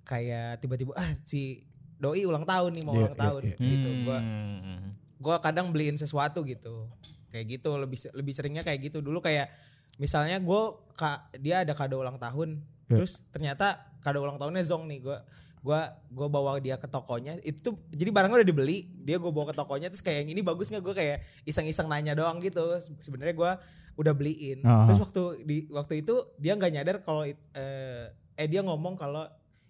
Speaker 3: kayak tiba-tiba ah si doi ulang tahun nih mau
Speaker 2: Iya,
Speaker 3: ulang
Speaker 2: iya,
Speaker 3: tahun
Speaker 2: iya.
Speaker 3: gitu gue
Speaker 1: Hmm.
Speaker 3: gue kadang beliin sesuatu gitu kayak gitu lebih lebih seringnya kayak gitu dulu kayak misalnya gue dia ada kado ulang tahun
Speaker 2: Ya.
Speaker 3: terus ternyata kado ulang tahunnya zong nih gue gua gua bawa dia ke tokonya itu jadi barangnya udah dibeli dia gue bawa ke tokonya terus kayak yang ini bagus nggak gue kayak iseng-iseng nanya doang gitu Se- sebenarnya gue udah beliin
Speaker 2: Aha.
Speaker 3: terus waktu di waktu itu dia nggak nyadar kalau it- eh, eh dia ngomong kalau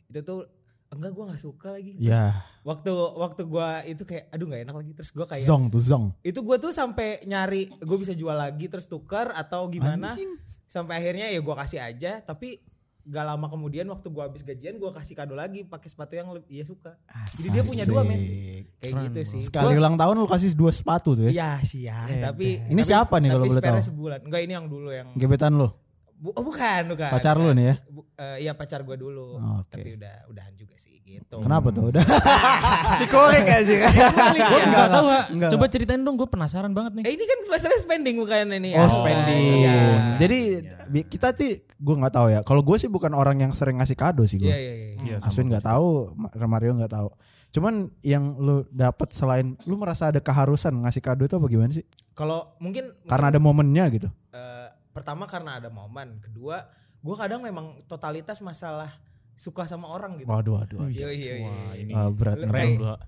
Speaker 3: itu tuh enggak gue nggak suka lagi Terus
Speaker 2: Ya,
Speaker 3: waktu waktu gue itu kayak aduh nggak enak lagi terus gue kayak
Speaker 2: zong tuh zong.
Speaker 3: itu gue tuh sampai nyari gue bisa jual lagi terus tukar atau gimana
Speaker 2: Anjing.
Speaker 3: sampai akhirnya ya gue kasih aja tapi gak lama kemudian waktu gue habis gajian gue kasih kado lagi pakai sepatu yang lebih dia suka jadi dia punya dua men
Speaker 2: Asik.
Speaker 3: kayak gitu sih
Speaker 2: Sekali ulang tahun lu kasih dua sepatu tuh ya.
Speaker 3: Iya sih ya, tapi
Speaker 2: Ini
Speaker 3: tapi-
Speaker 2: siapa nih kalau
Speaker 3: tapi
Speaker 2: boleh
Speaker 3: spare-nya
Speaker 2: tahu?
Speaker 3: sebulan. Enggak ini yang dulu yang
Speaker 2: Gebetan lu,
Speaker 3: Bu- oh, bukan, bukan.
Speaker 2: pacar lu nih ya.
Speaker 3: Bu- eh, iya pacar gue dulu,
Speaker 2: Oke.
Speaker 3: tapi udah udahan juga sih gitu.
Speaker 2: Kenapa tuh? Udah. Dikorek aja.
Speaker 1: Gue nggak tahu Wak.
Speaker 2: enggak,
Speaker 1: Coba ceritain dong, gue penasaran banget nih.
Speaker 3: Eh ini kan masalah spending bukan ini ya?
Speaker 2: Oh, spending.
Speaker 3: Iya.
Speaker 2: Jadi bi- kita ti gue nggak tahu ya. Kalau gue sih bukan orang yang sering ngasih kado sih
Speaker 3: Iya,
Speaker 2: gue.
Speaker 3: iya, iya.
Speaker 1: Iya, sama.
Speaker 2: Aswin nggak tahu, Ma- Mario nggak tahu. Cuman yang lu dapet selain lu merasa ada keharusan ngasih kado itu apa gimana sih?
Speaker 3: Kalau mungkin
Speaker 2: Karena ada momennya gitu.
Speaker 3: eh, pertama karena ada momen kedua gue kadang memang totalitas masalah suka sama orang gitu
Speaker 2: Waduh, waduh. waduh.
Speaker 3: iya iya iya
Speaker 1: ini
Speaker 2: Ah, berat
Speaker 3: Lu-
Speaker 1: keren
Speaker 2: nih.
Speaker 1: lu, Wak.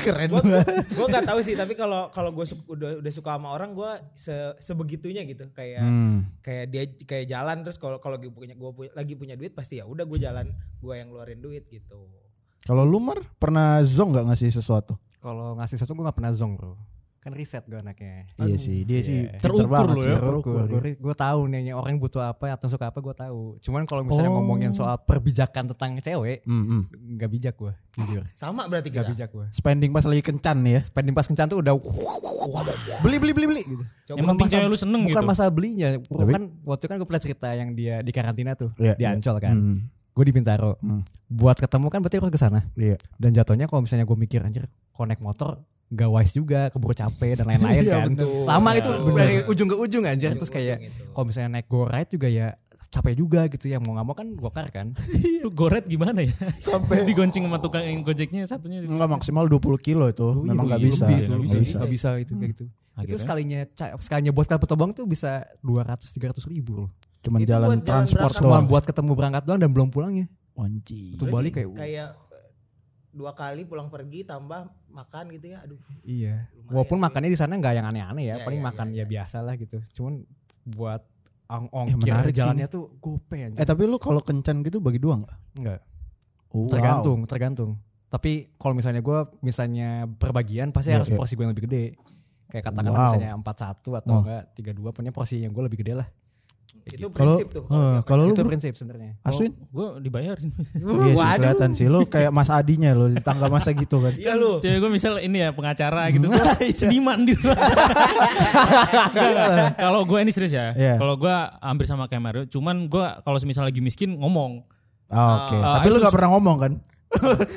Speaker 2: Keren
Speaker 3: gue
Speaker 2: banget.
Speaker 3: gue nggak tahu sih tapi kalau kalau gue udah udah suka sama orang gue se sebegitunya gitu kayak
Speaker 2: Hmm.
Speaker 3: kayak dia kayak jalan terus kalau kalau gue punya gue lagi punya duit pasti ya udah gue jalan gue yang ngeluarin duit gitu
Speaker 2: Kalau lu Mar, pernah zong nggak ngasih sesuatu?
Speaker 4: Kalau ngasih sesuatu gue gak pernah zong bro. Kan riset gue anaknya.
Speaker 2: iya sih, dia sih pinter
Speaker 1: Terukur
Speaker 2: banget
Speaker 1: lu
Speaker 2: sih,
Speaker 1: ya.
Speaker 2: Terukur.
Speaker 4: Gue gue tahu nih yang orang butuh apa atau suka apa gue tahu. Cuman kalau misalnya
Speaker 2: Oh.
Speaker 4: ngomongin soal perbijakan tentang cewek,
Speaker 2: Hmm, hmm.
Speaker 4: nggak bijak gue jujur.
Speaker 3: sama berarti
Speaker 2: Iya.
Speaker 4: Gak
Speaker 3: kita
Speaker 4: bijak gue.
Speaker 2: Spending pas lagi kencan nih ya.
Speaker 4: Spending pas kencan tuh udah
Speaker 2: Beli beli beli beli gitu.
Speaker 3: Coba
Speaker 1: Yang penting
Speaker 4: masa-
Speaker 1: cewek lu seneng
Speaker 4: bukan
Speaker 1: gitu.
Speaker 4: masalah belinya. Bro,
Speaker 2: Tapi-
Speaker 4: kan waktu itu kan gue pernah cerita yang dia di karantina tuh,
Speaker 2: Iya,
Speaker 4: di
Speaker 2: iya.
Speaker 4: Ancol kan.
Speaker 2: Hmm.
Speaker 4: Gue di Bintaro. Buat ketemu kan berarti harus ke sana.
Speaker 2: Iya.
Speaker 4: Dan jatuhnya kalau misalnya gue mikir anjir, konek motor gak wise juga, keburu capek dan lain-lain
Speaker 2: Iya,
Speaker 4: kan.
Speaker 2: betul.
Speaker 4: Lama itu dari ujung ke ujung
Speaker 3: Iya,
Speaker 4: anjir. Terus kayak
Speaker 3: itu.
Speaker 4: kalau misalnya naik go ride juga ya capek juga gitu ya. Mau gak mau kan gokar kan.
Speaker 1: Lu goret gimana ya?
Speaker 2: Sampai-
Speaker 1: digonceng sama tukang yang gojeknya satunya.
Speaker 2: Oh. Enggak maksimal 20 kilo itu. Memang nggak
Speaker 4: Iya,
Speaker 2: bisa.
Speaker 4: lebih tuh,
Speaker 2: Nggak
Speaker 4: bisa,
Speaker 2: bisa.
Speaker 4: bisa, bisa, itu kayak gitu. Itu
Speaker 1: Akhirnya?
Speaker 4: sekalinya ca- sekalinya buat kapal tobang tuh bisa 200-300 ribu loh.
Speaker 2: Cuman
Speaker 3: Itu
Speaker 2: jalan
Speaker 3: buat jalan
Speaker 2: transport
Speaker 3: berangkat
Speaker 2: doang.
Speaker 4: Cuman buat ketemu berangkat doang dan belum pulangnya.
Speaker 2: Wanci.
Speaker 4: Tuh balik kayak,
Speaker 3: kayak eh, dua kali pulang pergi tambah makan gitu ya aduh
Speaker 4: iya. Walaupun makannya di sana nggak yang aneh-aneh ya,
Speaker 3: Iya,
Speaker 4: paling
Speaker 3: iya,
Speaker 4: makan
Speaker 3: iya,
Speaker 4: ya biasa lah gitu. Cuman buat ong
Speaker 2: Eh,
Speaker 4: ongkir
Speaker 2: menarik sih
Speaker 4: jalannya tuh gope anjir.
Speaker 2: Eh tapi lu kalau kencan gitu bagi dua enggak?
Speaker 4: Enggak.
Speaker 2: Oh,
Speaker 4: Tergantung, tergantung. Tapi kalau misalnya gue misalnya perbagian pasti
Speaker 2: Iya,
Speaker 4: harus
Speaker 2: iya.
Speaker 4: porsi gue yang lebih gede. Kayak katakanlah
Speaker 2: Wow. Oh.
Speaker 4: misalnya 41 atau
Speaker 2: Wah.
Speaker 4: enggak 32 punya porsi yang gue lebih gede lah.
Speaker 3: itu
Speaker 2: Kalau
Speaker 4: gitu.
Speaker 3: prinsip tuh
Speaker 2: eh, kalau lu
Speaker 4: Itu prinsip sebenarnya.
Speaker 2: Aswin?
Speaker 1: Gue dibayarin.
Speaker 2: Iya sih kelihatan sih lu kayak Mas Adinya lu di tangga masa gitu kan.
Speaker 3: iya lu
Speaker 1: Cewek gue misal ini ya pengacara gitu. Terus
Speaker 2: Iya.
Speaker 1: seniman di rumah. Kalau gue ini serius ya.
Speaker 2: Iya.
Speaker 1: Kalau gue hampir sama kayak Mario. Cuman gue kalau semisal lagi miskin ngomong.
Speaker 2: Ah, Oke, tapi lu gak pernah ngomong kan?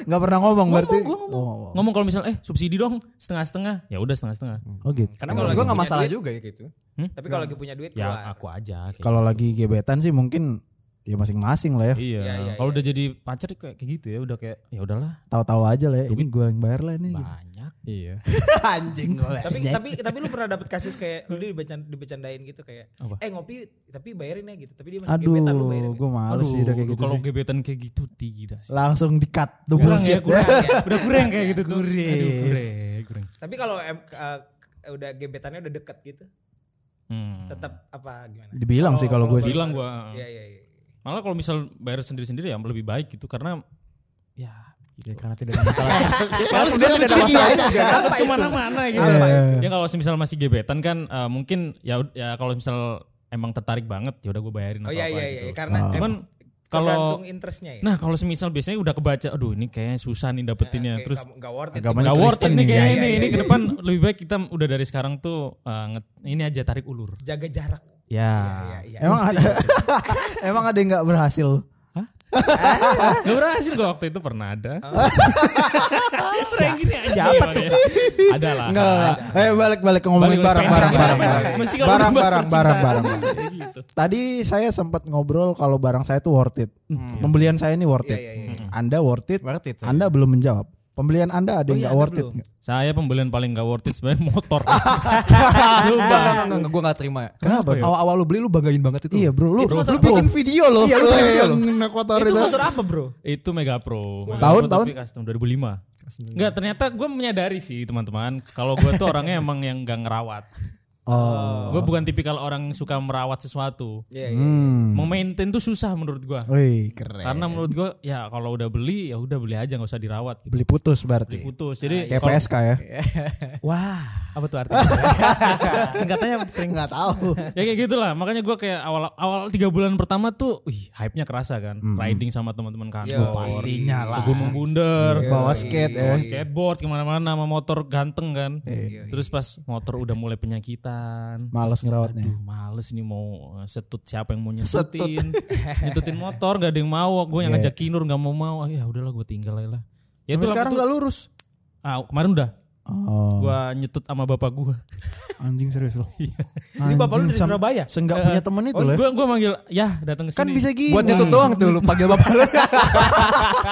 Speaker 2: Gak pernah ngomong berarti.
Speaker 1: Ngomong, gua ngomong.
Speaker 2: Oh, ngomong.
Speaker 1: Ngomong kalau misal eh subsidi dong setengah-setengah. Ya udah setengah-setengah.
Speaker 2: Oh gitu.
Speaker 4: Karena
Speaker 3: Kalau
Speaker 4: kalau gue
Speaker 3: lagi
Speaker 4: nggak
Speaker 3: punya
Speaker 4: masalah
Speaker 3: duit-
Speaker 4: juga ya gitu.
Speaker 3: tapi kalau lagi punya duit
Speaker 1: Ya
Speaker 3: keluar
Speaker 1: aku aja. kayak
Speaker 2: Kalau lagi gebetan sih mungkin ya masing-masing lah ya.
Speaker 1: Iya.
Speaker 3: Iya, iya,
Speaker 1: kalau udah jadi pacar kayak kayak gitu ya, udah kayak ya udahlah
Speaker 2: Tahu-tahu aja lah ya. Ini gue yang bayar lah ini.
Speaker 1: banyak.
Speaker 4: Iya.
Speaker 2: Anjing gue.
Speaker 3: tapi tapi tapi lu pernah dapet kasus kayak lu dibecan- dibecandain gitu kayak
Speaker 1: Apa?
Speaker 3: eh ngopi tapi bayarin ya gitu tapi dia masih gebetan lu
Speaker 2: Aduh,
Speaker 3: bayarin ya.
Speaker 2: gue malu sih udah kayak gitu
Speaker 1: kalau
Speaker 2: sih.
Speaker 1: gebetan kayak gitu tidak sih.
Speaker 2: Langsung di-cut tuh
Speaker 1: Kurang ya,
Speaker 2: bullshit.
Speaker 1: kurang ya. Udah kurang kayak gitu tuh.
Speaker 2: Kurang.
Speaker 1: Aduh, kurang, kurang.
Speaker 3: tapi kalau em, eh, udah gebetannya udah deket gitu
Speaker 1: Hmm.
Speaker 3: tetap apa gimana
Speaker 2: Dibilang sih
Speaker 3: Oh,
Speaker 2: kalau gue sih.
Speaker 1: Bilang gua.
Speaker 3: ya ya ya
Speaker 1: Malah kalau misal bayar sendiri-sendiri ya lebih baik gitu karena ya
Speaker 4: Ya,
Speaker 2: gitu.
Speaker 4: karena tidak ada masalah.
Speaker 1: Kalau sudah tidak ada masalah
Speaker 3: Apa itu?
Speaker 1: kemana-mana gitu. Ya kalau misal masih gebetan kan eh, mungkin ya ya kalau misal emang tertarik banget ya udah gue bayarin
Speaker 3: oh
Speaker 1: atau
Speaker 3: ya
Speaker 1: apa
Speaker 3: ya
Speaker 1: gitu.
Speaker 3: ya karena
Speaker 1: Cuman
Speaker 3: tergantung
Speaker 1: kalau
Speaker 3: interestnya ya
Speaker 1: nah kalau semisal biasanya udah kebaca aduh ini kayaknya susah nih dapetinnya
Speaker 3: Kayak
Speaker 1: terus
Speaker 3: nggak- nggak worth it
Speaker 2: agak
Speaker 1: Gak worth it
Speaker 2: Kristen
Speaker 1: nih
Speaker 2: nih.
Speaker 1: kayaknya
Speaker 3: Iya,
Speaker 1: nih.
Speaker 3: iya,
Speaker 1: Ini
Speaker 3: iya,
Speaker 1: ke depan lebih baik kita udah dari sekarang tuh eh, nge- ini aja tarik ulur.
Speaker 3: jaga jarak
Speaker 1: Ya.
Speaker 3: ya ya
Speaker 2: Emang ada emang ada yang nggak berhasil.
Speaker 1: Hah? Gak berhasil gue waktu itu pernah ada. Saya gini aja. Siapa tuh? ya? Ada lah.
Speaker 2: Enggak, enggak. Eh balik-balik ke ngomongin
Speaker 1: Balik-balik
Speaker 2: barang-barang
Speaker 1: sepeda.
Speaker 2: barang.
Speaker 1: Mesti kalau
Speaker 2: Barang-barang
Speaker 1: ngebahas
Speaker 2: barang barang.
Speaker 1: percintaan.
Speaker 2: barang.
Speaker 1: Kayak gitu.
Speaker 2: Tadi saya sempat ngobrol kalau barang saya itu worth it. Pembelian saya ini worth it. Anda worth it.
Speaker 4: Worth it, saya.
Speaker 2: Anda belum menjawab. Pembelian Anda ada yang nggak
Speaker 3: iya, Anda
Speaker 2: worth it?
Speaker 3: belum.
Speaker 2: nggak?
Speaker 1: Saya pembelian paling gak worth it sebenarnya motor.
Speaker 4: Enggak, enggak, enggak, gue gak terima.
Speaker 2: Kenapa? ya?
Speaker 4: Awal-awal lu beli lu banggain banget itu.
Speaker 2: Iya bro, lu,
Speaker 3: Itu
Speaker 2: lu
Speaker 3: motor-
Speaker 2: bikin video loh.
Speaker 3: Iya, lu bikin video
Speaker 2: yang ya.
Speaker 3: loh.
Speaker 2: naik motor
Speaker 3: Itu
Speaker 2: itu.
Speaker 3: motor apa bro?
Speaker 1: itu Mega Pro. Mega
Speaker 2: Tahun,
Speaker 1: Pro
Speaker 2: tahun?
Speaker 1: tapi custom 2005. Enggak, ternyata gue menyadari sih teman-teman kalau gue tuh orangnya emang yang gak ngerawat.
Speaker 2: Oh,
Speaker 1: Gue bukan tipikal orang yang suka merawat sesuatu.
Speaker 3: Iya, iya.
Speaker 2: hmm.
Speaker 1: Memaintain tuh susah menurut gue.
Speaker 2: Wih, keren.
Speaker 1: Karena menurut gue ya kalau udah beli ya udah beli aja nggak usah dirawat. Gitu.
Speaker 2: Beli putus berarti.
Speaker 1: Putus. Jadi
Speaker 2: Kayak
Speaker 1: kalau-
Speaker 2: PSK ya?
Speaker 3: Wah.
Speaker 1: apa tuh artinya? Singkatannya apa, Pring?
Speaker 2: Nggak tahu.
Speaker 1: ya kayak gitulah makanya gue kayak awal awal tiga bulan pertama tuh wih hype nya kerasa kan riding sama teman-teman kantor
Speaker 2: Hmm. Pastinya lah.
Speaker 1: gunung bunder
Speaker 2: Bawa skate ya.
Speaker 1: bawa skateboard kemana-mana sama motor ganteng kan
Speaker 2: Iya,
Speaker 1: terus pas motor udah mulai penyakitan
Speaker 2: Males ngerawatnya.
Speaker 1: Aduh males nih mau eh, setut siapa yang mau nyetutin nyetutin motor gak ada yang mau gue yang ngajak kinur gak mau mau Ah, ya udahlah gue tinggal aja lah ya
Speaker 2: Iya.
Speaker 1: itu
Speaker 2: Sampai sekarang
Speaker 1: sekarang
Speaker 2: nggak lurus.
Speaker 1: ah, kemarin udah
Speaker 2: Oh,
Speaker 1: gue nyetut sama bapak gue
Speaker 2: anjing serius loh.
Speaker 3: Ini bapak lu
Speaker 2: Anjing,
Speaker 3: dari
Speaker 2: sam-
Speaker 3: Surabaya?
Speaker 2: Seenggak punya temen itu loh.
Speaker 1: gue gue manggil ya datang ke sini
Speaker 2: Gitu Kan bisa gini.
Speaker 4: Buat itu doang tuh lu panggil bapak lu.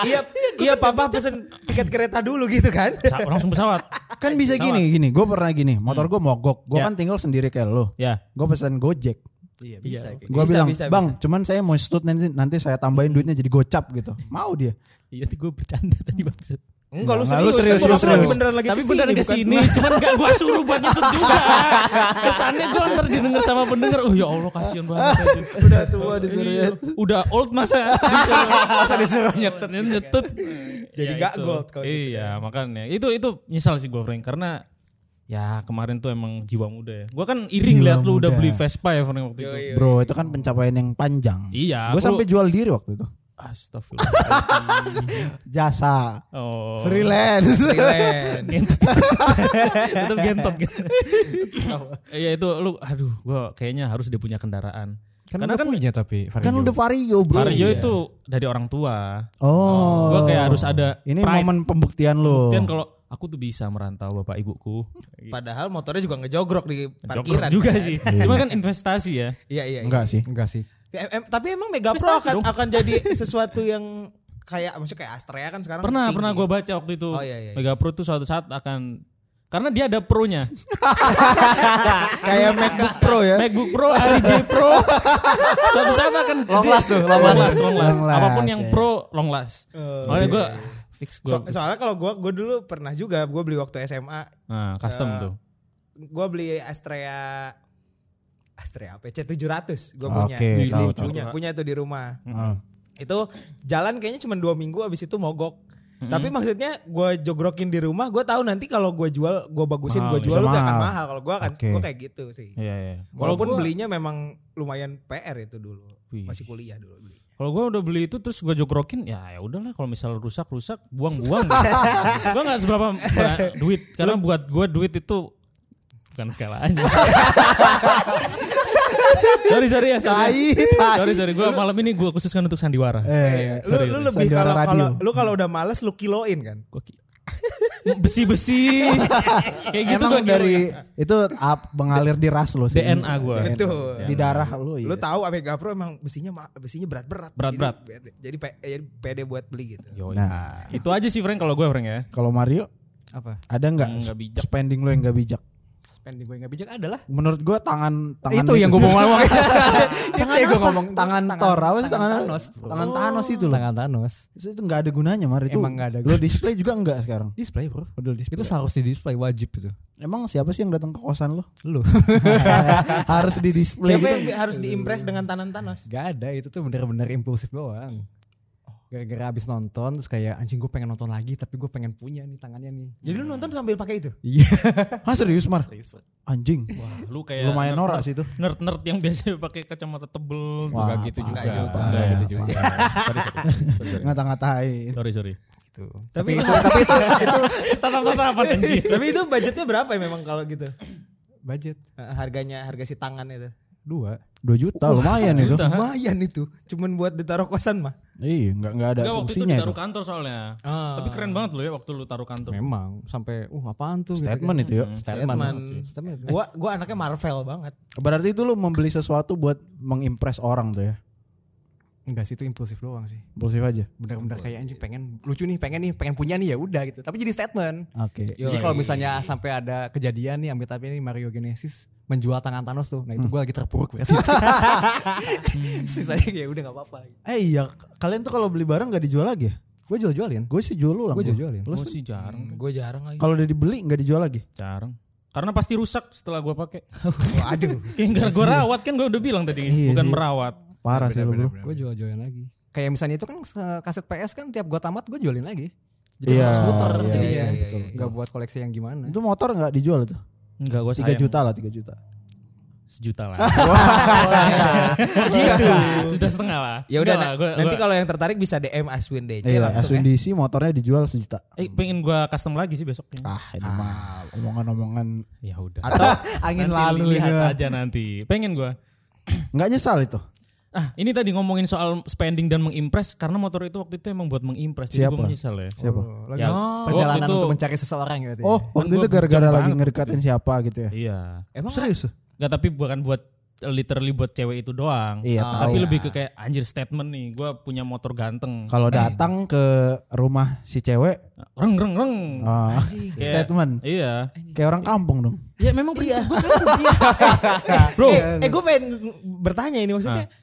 Speaker 3: iya, iya papa pesen tiket kereta dulu gitu kan?
Speaker 1: Sa- langsung pesawat
Speaker 2: Kan bisa gini, gini. Gue pernah gini, motor gue mogok. Gue
Speaker 1: Ya.
Speaker 2: kan tinggal sendiri kayak lo.
Speaker 1: ya
Speaker 2: Gue pesan Gojek.
Speaker 4: Iya, bisa.
Speaker 2: Gue
Speaker 3: Bisa,
Speaker 2: bilang,
Speaker 3: bisa,
Speaker 2: bang, cuman saya mau stut nanti, nanti saya tambahin duitnya jadi gocap gitu. Mau dia?
Speaker 1: Iya tuh gue bercanda tadi maksud.
Speaker 3: Enggak lu
Speaker 2: Enggak, lu
Speaker 3: serius,
Speaker 2: serius, lu
Speaker 3: Bapak lagi
Speaker 2: serius.
Speaker 3: beneran lagi
Speaker 1: Tapi
Speaker 3: kesini,
Speaker 1: beneran ke
Speaker 3: bukan-
Speaker 1: sini, cuman gak gue suruh buat nyetut juga. Kesannya gue ntar didengar sama pendengar, oh ya Allah kasihan banget. udah tua
Speaker 2: Iya.
Speaker 1: disuruh Udah old masa disuruh, masa disuruh nyetut nyetut.
Speaker 3: Jadi
Speaker 1: Ya,
Speaker 3: nggak
Speaker 1: itu.
Speaker 3: gold kalau gitu
Speaker 1: Iya makanya itu itu nyesal sih gue Frank karena ya kemarin tuh emang jiwa muda ya. Gue kan iring
Speaker 2: Jiwa
Speaker 1: lihat lu udah
Speaker 2: muda.
Speaker 1: beli Vespa ya Frank waktu
Speaker 3: Iya,
Speaker 1: itu.
Speaker 2: Bro, itu kan pencapaian yang panjang.
Speaker 1: Iya,
Speaker 2: Gue
Speaker 1: aku-
Speaker 2: sampai jual diri waktu itu.
Speaker 1: Astagfirullah.
Speaker 2: Jasa.
Speaker 1: Oh.
Speaker 2: Freelance.
Speaker 3: Freelance.
Speaker 1: Gentot. tetap gentot gitu. Iya itu lu aduh gua kayaknya harus dia punya kendaraan. Karena kan
Speaker 4: punya tapi
Speaker 2: kan lu udah vario
Speaker 3: Iya.
Speaker 2: bro.
Speaker 1: Vario itu dari orang tua.
Speaker 2: Oh.
Speaker 1: Gua kayak harus ada
Speaker 2: Ini
Speaker 1: pride.
Speaker 2: momen pembuktian lo.
Speaker 1: Dan kalau aku tuh bisa merantau bapak ibuku.
Speaker 3: Padahal motornya juga ngejogrok di
Speaker 1: Joker
Speaker 3: parkiran.
Speaker 1: juga
Speaker 3: kan?
Speaker 1: sih. Cuma kan investasi ya.
Speaker 3: Iya, iya. iya.
Speaker 2: Enggak sih.
Speaker 4: Enggak sih.
Speaker 3: Em- em- tapi emang Mega Pro
Speaker 1: Prestasi
Speaker 3: akan
Speaker 1: dong.
Speaker 3: akan jadi sesuatu yang kayak maksudnya kayak Astrea kan sekarang
Speaker 1: Pernah
Speaker 3: tinggi.
Speaker 1: pernah gua baca waktu itu.
Speaker 3: Oh, iya, iya, iya.
Speaker 1: Mega Pro tuh suatu saat akan karena dia ada pro-nya.
Speaker 2: Kayak MacBook Pro ya.
Speaker 1: MacBook Pro, RJ Pro. Suatu saat akan long last tuh, long last, long last.
Speaker 2: Long last,
Speaker 1: Apapun yang
Speaker 2: ya.
Speaker 1: pro long last.
Speaker 3: Oh,
Speaker 1: Makanya gue fix gue.
Speaker 3: iya, So- soalnya kalau gua gua dulu pernah juga gua beli waktu SMA
Speaker 1: nah, custom tuh.
Speaker 3: gua beli Astrea Astrea apa ya? C 700 gua punya
Speaker 2: Oke,
Speaker 1: Ini
Speaker 2: tahu,
Speaker 1: lucu.
Speaker 2: tahu.
Speaker 3: punya punya tuh di rumah
Speaker 2: Heeh.
Speaker 3: itu jalan kayaknya cuma dua minggu abis itu mogok tapi maksudnya gua jogrokin di rumah gua tahu nanti kalau gua jual gua bagusin
Speaker 1: Mahal,
Speaker 3: gua
Speaker 1: bisa
Speaker 3: jual lu gak akan
Speaker 2: mahal.
Speaker 3: mahal kalau gua akan
Speaker 2: Oke.
Speaker 3: gua kayak gitu sih
Speaker 1: Iya, iya.
Speaker 3: walaupun belinya memang lumayan PR itu dulu
Speaker 1: Wih.
Speaker 3: masih kuliah dulu beli
Speaker 1: Kalau gue udah beli itu terus gue jokrokin ya ya udahlah kalau misalnya rusak rusak buang buang. gue nggak seberapa ba- duit karena buat gue duit itu bukan skalanya. sorry sorry ya sorry. sorry sorry gue malam ini gue khususkan untuk sandiwara.
Speaker 2: Eh,
Speaker 3: lu, lu lebih
Speaker 2: Sandiwara
Speaker 3: kalau
Speaker 2: radio.
Speaker 3: kalau lu kalau udah males lu kiloin kan
Speaker 1: Gua ki- besi-besi kayak gitu gua
Speaker 2: Emang dari itu up, mengalir di ras lo sih.
Speaker 1: DNA gua.
Speaker 3: Betul.
Speaker 2: Di darah lo ya.
Speaker 3: lu tahu Amega Pro emang besinya ma- besinya berat berat
Speaker 1: Iya Berat-berat.
Speaker 3: jadi, jadi, pe- eh, jadi pede buat beli gitu
Speaker 1: Yoi.
Speaker 2: Nah,
Speaker 1: itu aja sih Frank kalau gue Frank ya
Speaker 2: kalau Mario
Speaker 4: Apa?
Speaker 2: ada nggak
Speaker 1: Yang nggak bijak.
Speaker 2: spending lo yang nggak bijak?
Speaker 4: Spending gue enggak bijak adalah
Speaker 2: Menurut gua tangan tangan
Speaker 4: itu yang gue mau ngomong.
Speaker 2: tangan gue ngomong tangan, Thor apa sih tangan Thanos? Tangan Thanos itu loh.
Speaker 4: Tangan Thanos.
Speaker 2: Itu nggak ada gunanya Mario itu.
Speaker 4: Emang nggak ada
Speaker 2: Lo display juga enggak sekarang?
Speaker 4: Display bro.
Speaker 2: Model display.
Speaker 4: Itu seharusnya di display wajib itu.
Speaker 2: Emang siapa sih yang datang ke kosan lo?
Speaker 4: Lu.
Speaker 2: Harus di display.
Speaker 3: siapa ya?
Speaker 2: gitu.
Speaker 3: yang bi- harus diimpress dengan tanah Thanos
Speaker 4: Gak ada itu tuh bener-bener impulsif doang. Gara-gara abis nonton terus kayak anjing gue pengen nonton lagi tapi gue pengen punya nih tangannya nih.
Speaker 3: jadi lu nonton sambil pakai itu
Speaker 4: Iya.
Speaker 2: Hah Ah, serius Mar? Anjing.
Speaker 1: lu kayak
Speaker 2: Lumayan norak sih itu.
Speaker 1: nerd nerd yang biasanya pakai kacamata tebel tuh nggak gitu juga
Speaker 2: parah,
Speaker 4: Nah,
Speaker 1: Nggak
Speaker 2: iya.
Speaker 1: gitu juga sorry sorry. sorry
Speaker 2: Ngata-ngatain.
Speaker 1: sorry sorry
Speaker 3: tapi
Speaker 1: tatap tatapan anjir
Speaker 3: tapi itu budgetnya berapa ya memang kalau gitu
Speaker 4: Budget
Speaker 3: Eh, harganya harga si tangan itu
Speaker 4: dua.
Speaker 2: 2 juta lumayan itu.
Speaker 3: lumayan itu cuman buat ditaruh kosan mah
Speaker 2: Iya, nggak nggak ada
Speaker 1: Enggak waktu itu
Speaker 2: fungsinya itu.
Speaker 1: ditaruh gitu kantor soalnya. Tapi keren banget loh ya waktu lu taruh kantor.
Speaker 4: Memang sampai uh apaan tuh gitu kan.
Speaker 2: Statement itu ya. yuk.
Speaker 1: Hmm.
Speaker 4: Statement.
Speaker 3: Statement.
Speaker 4: Statement.
Speaker 3: Gua gua anaknya Marvel banget.
Speaker 2: Berarti itu lu membeli sesuatu buat mengimpress orang tuh ya.
Speaker 4: Eh, Enggak sih itu impulsif doang sih.
Speaker 2: Impulsif aja.
Speaker 4: Bener-bener kayak anjing pengen lucu nih, pengen nih, pengen punya nih ya udah gitu. Tapi jadi statement.
Speaker 2: Oke.
Speaker 4: Jadi kalau misalnya sampai ada kejadian nih ambil tapi ini Mario Genesis menjual tangan Thanos tuh. Nah itu gue lagi terpuruk berarti. Sisanya kayak udah gak apa-apa.
Speaker 2: Eh iya, kalian tuh kalau beli barang nggak dijual lagi ya?
Speaker 4: Gue jual-jualin.
Speaker 2: Gue sih jual ulang.
Speaker 4: Gue jual-jualin.
Speaker 1: Gue Oh, sih jarang,
Speaker 3: Gue Hmm, jarang lagi.
Speaker 2: Kalau udah dibeli nggak dijual lagi.
Speaker 1: jarang. Karena pasti rusak setelah gua pakai. Waduh. Tinggal gua rawat kan gua udah bilang tadi, bukan merawat.
Speaker 2: Parah sih lu bro.
Speaker 4: Gue jual-jualin lagi. Kayak misalnya itu kan eh, kaset PS kan tiap gue tamat gue jualin lagi.
Speaker 2: Iya.
Speaker 4: Iya,
Speaker 2: iya.
Speaker 4: iya, Gak buat koleksi yang gimana.
Speaker 2: Itu motor nggak dijual tuh.
Speaker 1: Enggak gua
Speaker 2: 3
Speaker 1: sayang.
Speaker 2: juta lah, 3 juta.
Speaker 1: Sejuta lah. gitu. Sudah setengah lah.
Speaker 3: Ya udah
Speaker 1: lah,
Speaker 3: na-
Speaker 1: gua-
Speaker 3: nanti
Speaker 1: gua-
Speaker 3: kalau yang tertarik bisa DM Aswin DC
Speaker 2: Iya,
Speaker 3: langsung.
Speaker 2: Aswin DC motornya dijual sejuta.
Speaker 1: eh pengen gua custom lagi sih besoknya.
Speaker 2: Ah, ini mah omongan-omongan
Speaker 1: Ya udah.
Speaker 2: atau angin
Speaker 1: Nanti
Speaker 2: lalu
Speaker 1: lihat
Speaker 2: ya.
Speaker 1: aja nanti. Pengen gua.
Speaker 2: Nggak nyesal itu.
Speaker 1: Ah, ini tadi ngomongin soal spending dan mengimpress karena motor itu waktu itu emang buat mengimpress. Jadi
Speaker 2: Siapa?
Speaker 1: gua menyesal ya.
Speaker 2: Siapa?
Speaker 1: Ya,
Speaker 4: Perjalanan
Speaker 1: waktu itu-
Speaker 4: untuk mencari seseorang gitu.
Speaker 2: Oh, waktu itu gara-gara
Speaker 1: bejam
Speaker 2: lagi
Speaker 1: banget
Speaker 2: ngedekatin siapa gitu ya.
Speaker 1: Iya.
Speaker 3: Emang
Speaker 2: Serius?
Speaker 1: Enggak tapi bukan buat literally buat cewek itu doang.
Speaker 2: Iya,
Speaker 1: tapi lebih ke kayak anjir statement nih, gua punya motor ganteng.
Speaker 2: Kalau datang ke rumah si cewek,
Speaker 1: Reng reng reng.
Speaker 2: ah,
Speaker 1: Kayak-
Speaker 2: statement.
Speaker 1: Iya.
Speaker 2: Kayak orang kampung dong.
Speaker 1: Ya memang prinsip gua kan.
Speaker 3: Bro, eh, gue pengen bertanya ini maksudnya
Speaker 1: Nah.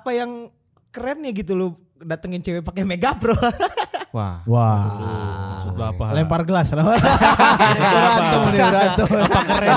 Speaker 3: apa yang kerennya gitu lu datengin cewek pakai mega bro
Speaker 1: Wah.
Speaker 2: Wah.
Speaker 1: Maksud lu apa?
Speaker 2: Lempar gelas lah. berantem nih, berantem.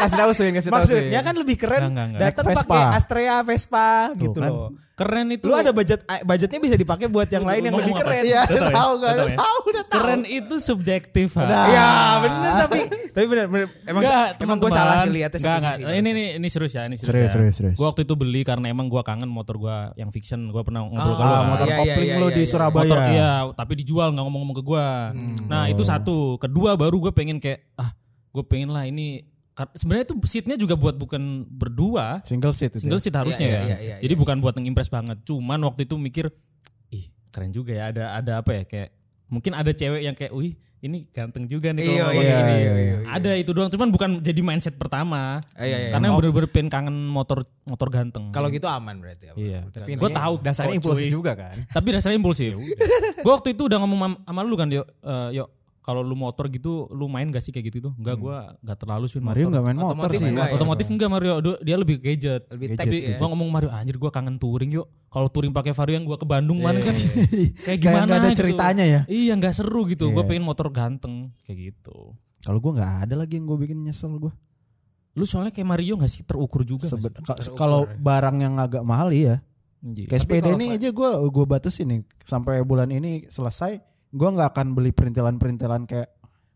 Speaker 4: kasih tahu Swin, kasih tahu Swin.
Speaker 3: maksudnya kan lebih keren
Speaker 1: Enggak, enggak, enggak.
Speaker 3: datang
Speaker 2: Naik Vespa.
Speaker 3: pakai Astrea Vespa gitu
Speaker 2: kan.
Speaker 3: loh
Speaker 1: Keren itu.
Speaker 3: lu ada budget a- budgetnya bisa dipakai buat yang lain yang lebih
Speaker 1: ngomong apa?
Speaker 3: keren
Speaker 2: Iya,
Speaker 1: Udah tahu ya?
Speaker 2: tahu
Speaker 1: Udah
Speaker 2: enggak?
Speaker 1: tahu ya?
Speaker 2: Tahu udah tahu.
Speaker 1: Keren itu subjektif. Ha. Iya,
Speaker 3: ya bener tapi tapi bener bener emang
Speaker 1: Enggak,
Speaker 3: emang gue
Speaker 1: teman-teman.
Speaker 3: salah sih liatnya satu
Speaker 1: Enggak,
Speaker 3: sisi
Speaker 1: enggak. Ini, ini, ini serius ya, ini serius.
Speaker 2: Serius,
Speaker 1: ya.
Speaker 2: serius, serius.
Speaker 1: Gua waktu itu beli karena emang gua kangen motor gua yang fiction. Gua pernah ngobrol ke lu.
Speaker 2: Ah,
Speaker 1: kan.
Speaker 2: motor
Speaker 3: Iya, iya,
Speaker 2: kopling
Speaker 3: iya,
Speaker 2: lu
Speaker 3: iya,
Speaker 2: di
Speaker 3: iya.
Speaker 2: Surabaya.
Speaker 1: motor iya tapi dijual nggak ngomong-ngomong ke gua
Speaker 3: Hmm.
Speaker 1: nah
Speaker 3: Oh.
Speaker 1: itu satu kedua baru gue pengen kayak ah gue pengen lah ini kar- sebenarnya itu seatnya juga buat bukan berdua
Speaker 2: Single seat itu.
Speaker 1: single
Speaker 2: ya.
Speaker 1: seat harusnya
Speaker 3: iya,
Speaker 1: ya
Speaker 3: iya, iya,
Speaker 1: jadi bukan buat ngimpress banget cuman waktu itu mikir ih keren juga ya ada ada apa ya kayak mungkin ada cewek yang kayak wih ini ganteng juga nih
Speaker 3: Iya,
Speaker 1: kalau pakai
Speaker 3: iya,
Speaker 1: ini
Speaker 3: iya, iya,
Speaker 1: ada itu doang cuman bukan jadi mindset pertama
Speaker 3: Iya, iya, iya.
Speaker 1: karena yang bener-bener pengen kangen motor motor ganteng
Speaker 3: kalau gitu aman berarti apa?
Speaker 1: iya
Speaker 4: Tapi
Speaker 1: gue
Speaker 4: ini
Speaker 1: tahu
Speaker 4: dasarnya
Speaker 1: kok,
Speaker 4: impulsif
Speaker 1: cuy.
Speaker 4: juga kan.
Speaker 1: Tapi dasarnya impulsif. gue waktu itu udah ngomong mam- sama lu kan, yuk, eh, yuk kalau lu motor gitu, lu main gak sih kayak gitu tuh? Enggak, gue gak terlalu sih
Speaker 2: Hmm. Mario Ah, iya.
Speaker 1: motor.
Speaker 2: enggak main motor
Speaker 3: Otomotif
Speaker 2: sih.
Speaker 3: enggak ya?
Speaker 1: Otomotif enggak Mario, Du- dia lebih ke gadget.
Speaker 3: Lebih
Speaker 1: Tapi
Speaker 3: tech ya.
Speaker 1: gue ngomong Mario, anjir gue kangen touring yuk. Kalau touring pakai Vario yang gue ke Bandung mana kan? kayak
Speaker 2: Iya. Kayak
Speaker 1: gimana?
Speaker 2: nggak ada
Speaker 1: gitu.
Speaker 2: ceritanya ya?
Speaker 1: Iya, nggak seru gitu. Gue pengen motor ganteng kayak gitu.
Speaker 2: Kalau gua enggak ada lagi yang gua bikin nyesel gua.
Speaker 1: Lu soalnya kayak Mario gak sih terukur juga? nggak
Speaker 2: Sebe- ka- kalau
Speaker 1: ya.
Speaker 2: barang yang agak mahal iya.
Speaker 1: sih? Anjir.
Speaker 2: Kayak sepeda ini aja gue gue batasin nih sampai bulan ini selesai gue nggak akan beli perintilan-perintilan kayak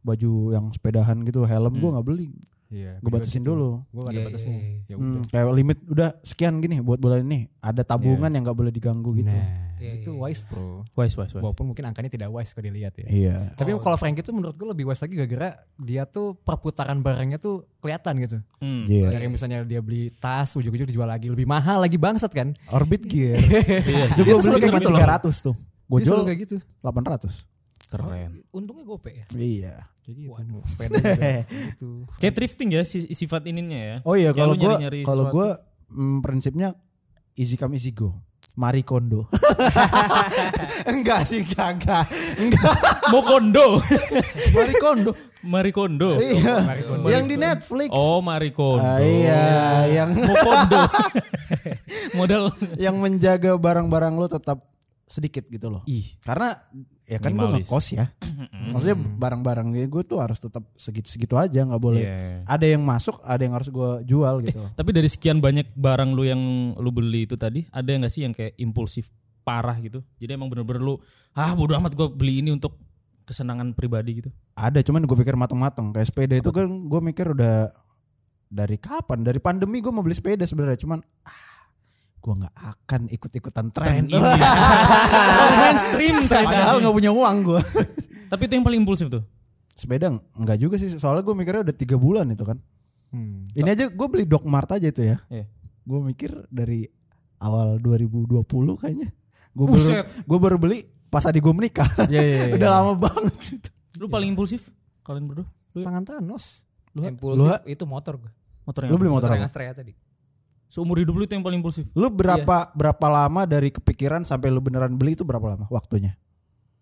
Speaker 2: baju yang sepedahan gitu helm
Speaker 1: Hmm.
Speaker 2: gue nggak beli
Speaker 4: Iya.
Speaker 2: gue batasin dulu
Speaker 4: Gue gak ada batasnya. Ya
Speaker 2: Hmm, kayak limit udah sekian gini buat bulan ini ada tabungan yang nggak boleh diganggu gitu
Speaker 4: Nah, itu wise bro.
Speaker 1: Wise, wise, wise.
Speaker 4: Walaupun mungkin angkanya tidak wise kalau dilihat ya.
Speaker 2: iya
Speaker 4: Tapi kalau Frank itu menurut gue lebih wise lagi gara-gara dia tuh perputaran barangnya tuh kelihatan gitu.
Speaker 1: Hmm.
Speaker 2: iya
Speaker 4: Dari misalnya dia beli tas ujung-ujung dijual lagi lebih mahal lagi bangsat kan.
Speaker 2: orbit gear
Speaker 1: Iya,
Speaker 2: itu gue beli
Speaker 4: Itu selalu
Speaker 2: cuma
Speaker 4: kayak gitu loh.
Speaker 2: tiga ratus tuh gue
Speaker 4: Dia selalu
Speaker 2: jual
Speaker 4: kayak gitu.
Speaker 2: delapan ratus
Speaker 1: keren.
Speaker 3: untungnya gope ya
Speaker 2: iya
Speaker 4: Kayak gitu. Sepeda juga gitu.
Speaker 1: Kayak thrifting ya si- sifat ininya ya.
Speaker 2: oh iya
Speaker 1: Kayak
Speaker 2: kalau
Speaker 1: lu
Speaker 2: gue
Speaker 1: nyari-nyari
Speaker 2: kalau
Speaker 1: sesuatu.
Speaker 2: gue mm, prinsipnya easy come easy go Mari kondo Enggak sih kagak Enggak
Speaker 1: Mokondo.
Speaker 2: Mari kondo
Speaker 1: Marikondo.
Speaker 2: Iya Yang di Netflix
Speaker 1: Oh, Marikondo.
Speaker 2: Ah, Iya Yang
Speaker 1: Mokondo. Modal.
Speaker 2: yang menjaga barang-barang lo tetap sedikit gitu loh.
Speaker 1: Ih.
Speaker 2: Karena ya kan gue
Speaker 1: Minimalis.
Speaker 2: ngekos ya. Maksudnya barang-barang gue tuh harus tetap segitu-segitu aja nggak boleh.
Speaker 1: Iya. Eh.
Speaker 2: Ada yang masuk, ada yang harus gue jual gitu.
Speaker 1: Tapi dari sekian banyak barang lu yang lu beli itu tadi, ada yang gak sih yang kayak impulsif parah gitu? Jadi emang bener-bener lu, ah bodo amat gue beli ini untuk kesenangan pribadi gitu.
Speaker 2: Ada cuman gue pikir matang-matang kayak sepeda itu kan gue mikir udah dari kapan? Dari pandemi gue mau beli sepeda sebenarnya cuman ah, gue nggak akan ikut-ikutan
Speaker 1: Tren
Speaker 2: tren.
Speaker 1: ini. Orang mainstream tren.
Speaker 2: Padahal nggak punya uang gue.
Speaker 1: Tapi itu yang paling impulsif tuh.
Speaker 2: sepeda nggak juga sih soalnya gue mikirnya udah tiga bulan itu kan.
Speaker 4: Hmm.
Speaker 2: Ini aja gue beli Doc Mart aja itu ya.
Speaker 1: Iya.
Speaker 2: gue mikir dari awal 2020 kayaknya Gue baru, gua baru beli pas adik gue menikah.
Speaker 4: Iya, iya, iya.
Speaker 2: Udah lama banget itu.
Speaker 1: Lu paling impulsif kalian berdua? Lu
Speaker 4: Tangan Thanos.
Speaker 3: Impulsif
Speaker 2: Lu-
Speaker 3: itu motor gue.
Speaker 1: motor yang
Speaker 2: Lu beli
Speaker 1: apa?
Speaker 2: motor
Speaker 3: yang
Speaker 2: apa?
Speaker 3: Astrea tadi.
Speaker 1: Seumur hidup lu itu yang paling impulsif.
Speaker 2: Lu
Speaker 3: Iya.
Speaker 2: berapa berapa lama dari kepikiran sampai lu beneran beli itu berapa lama waktunya?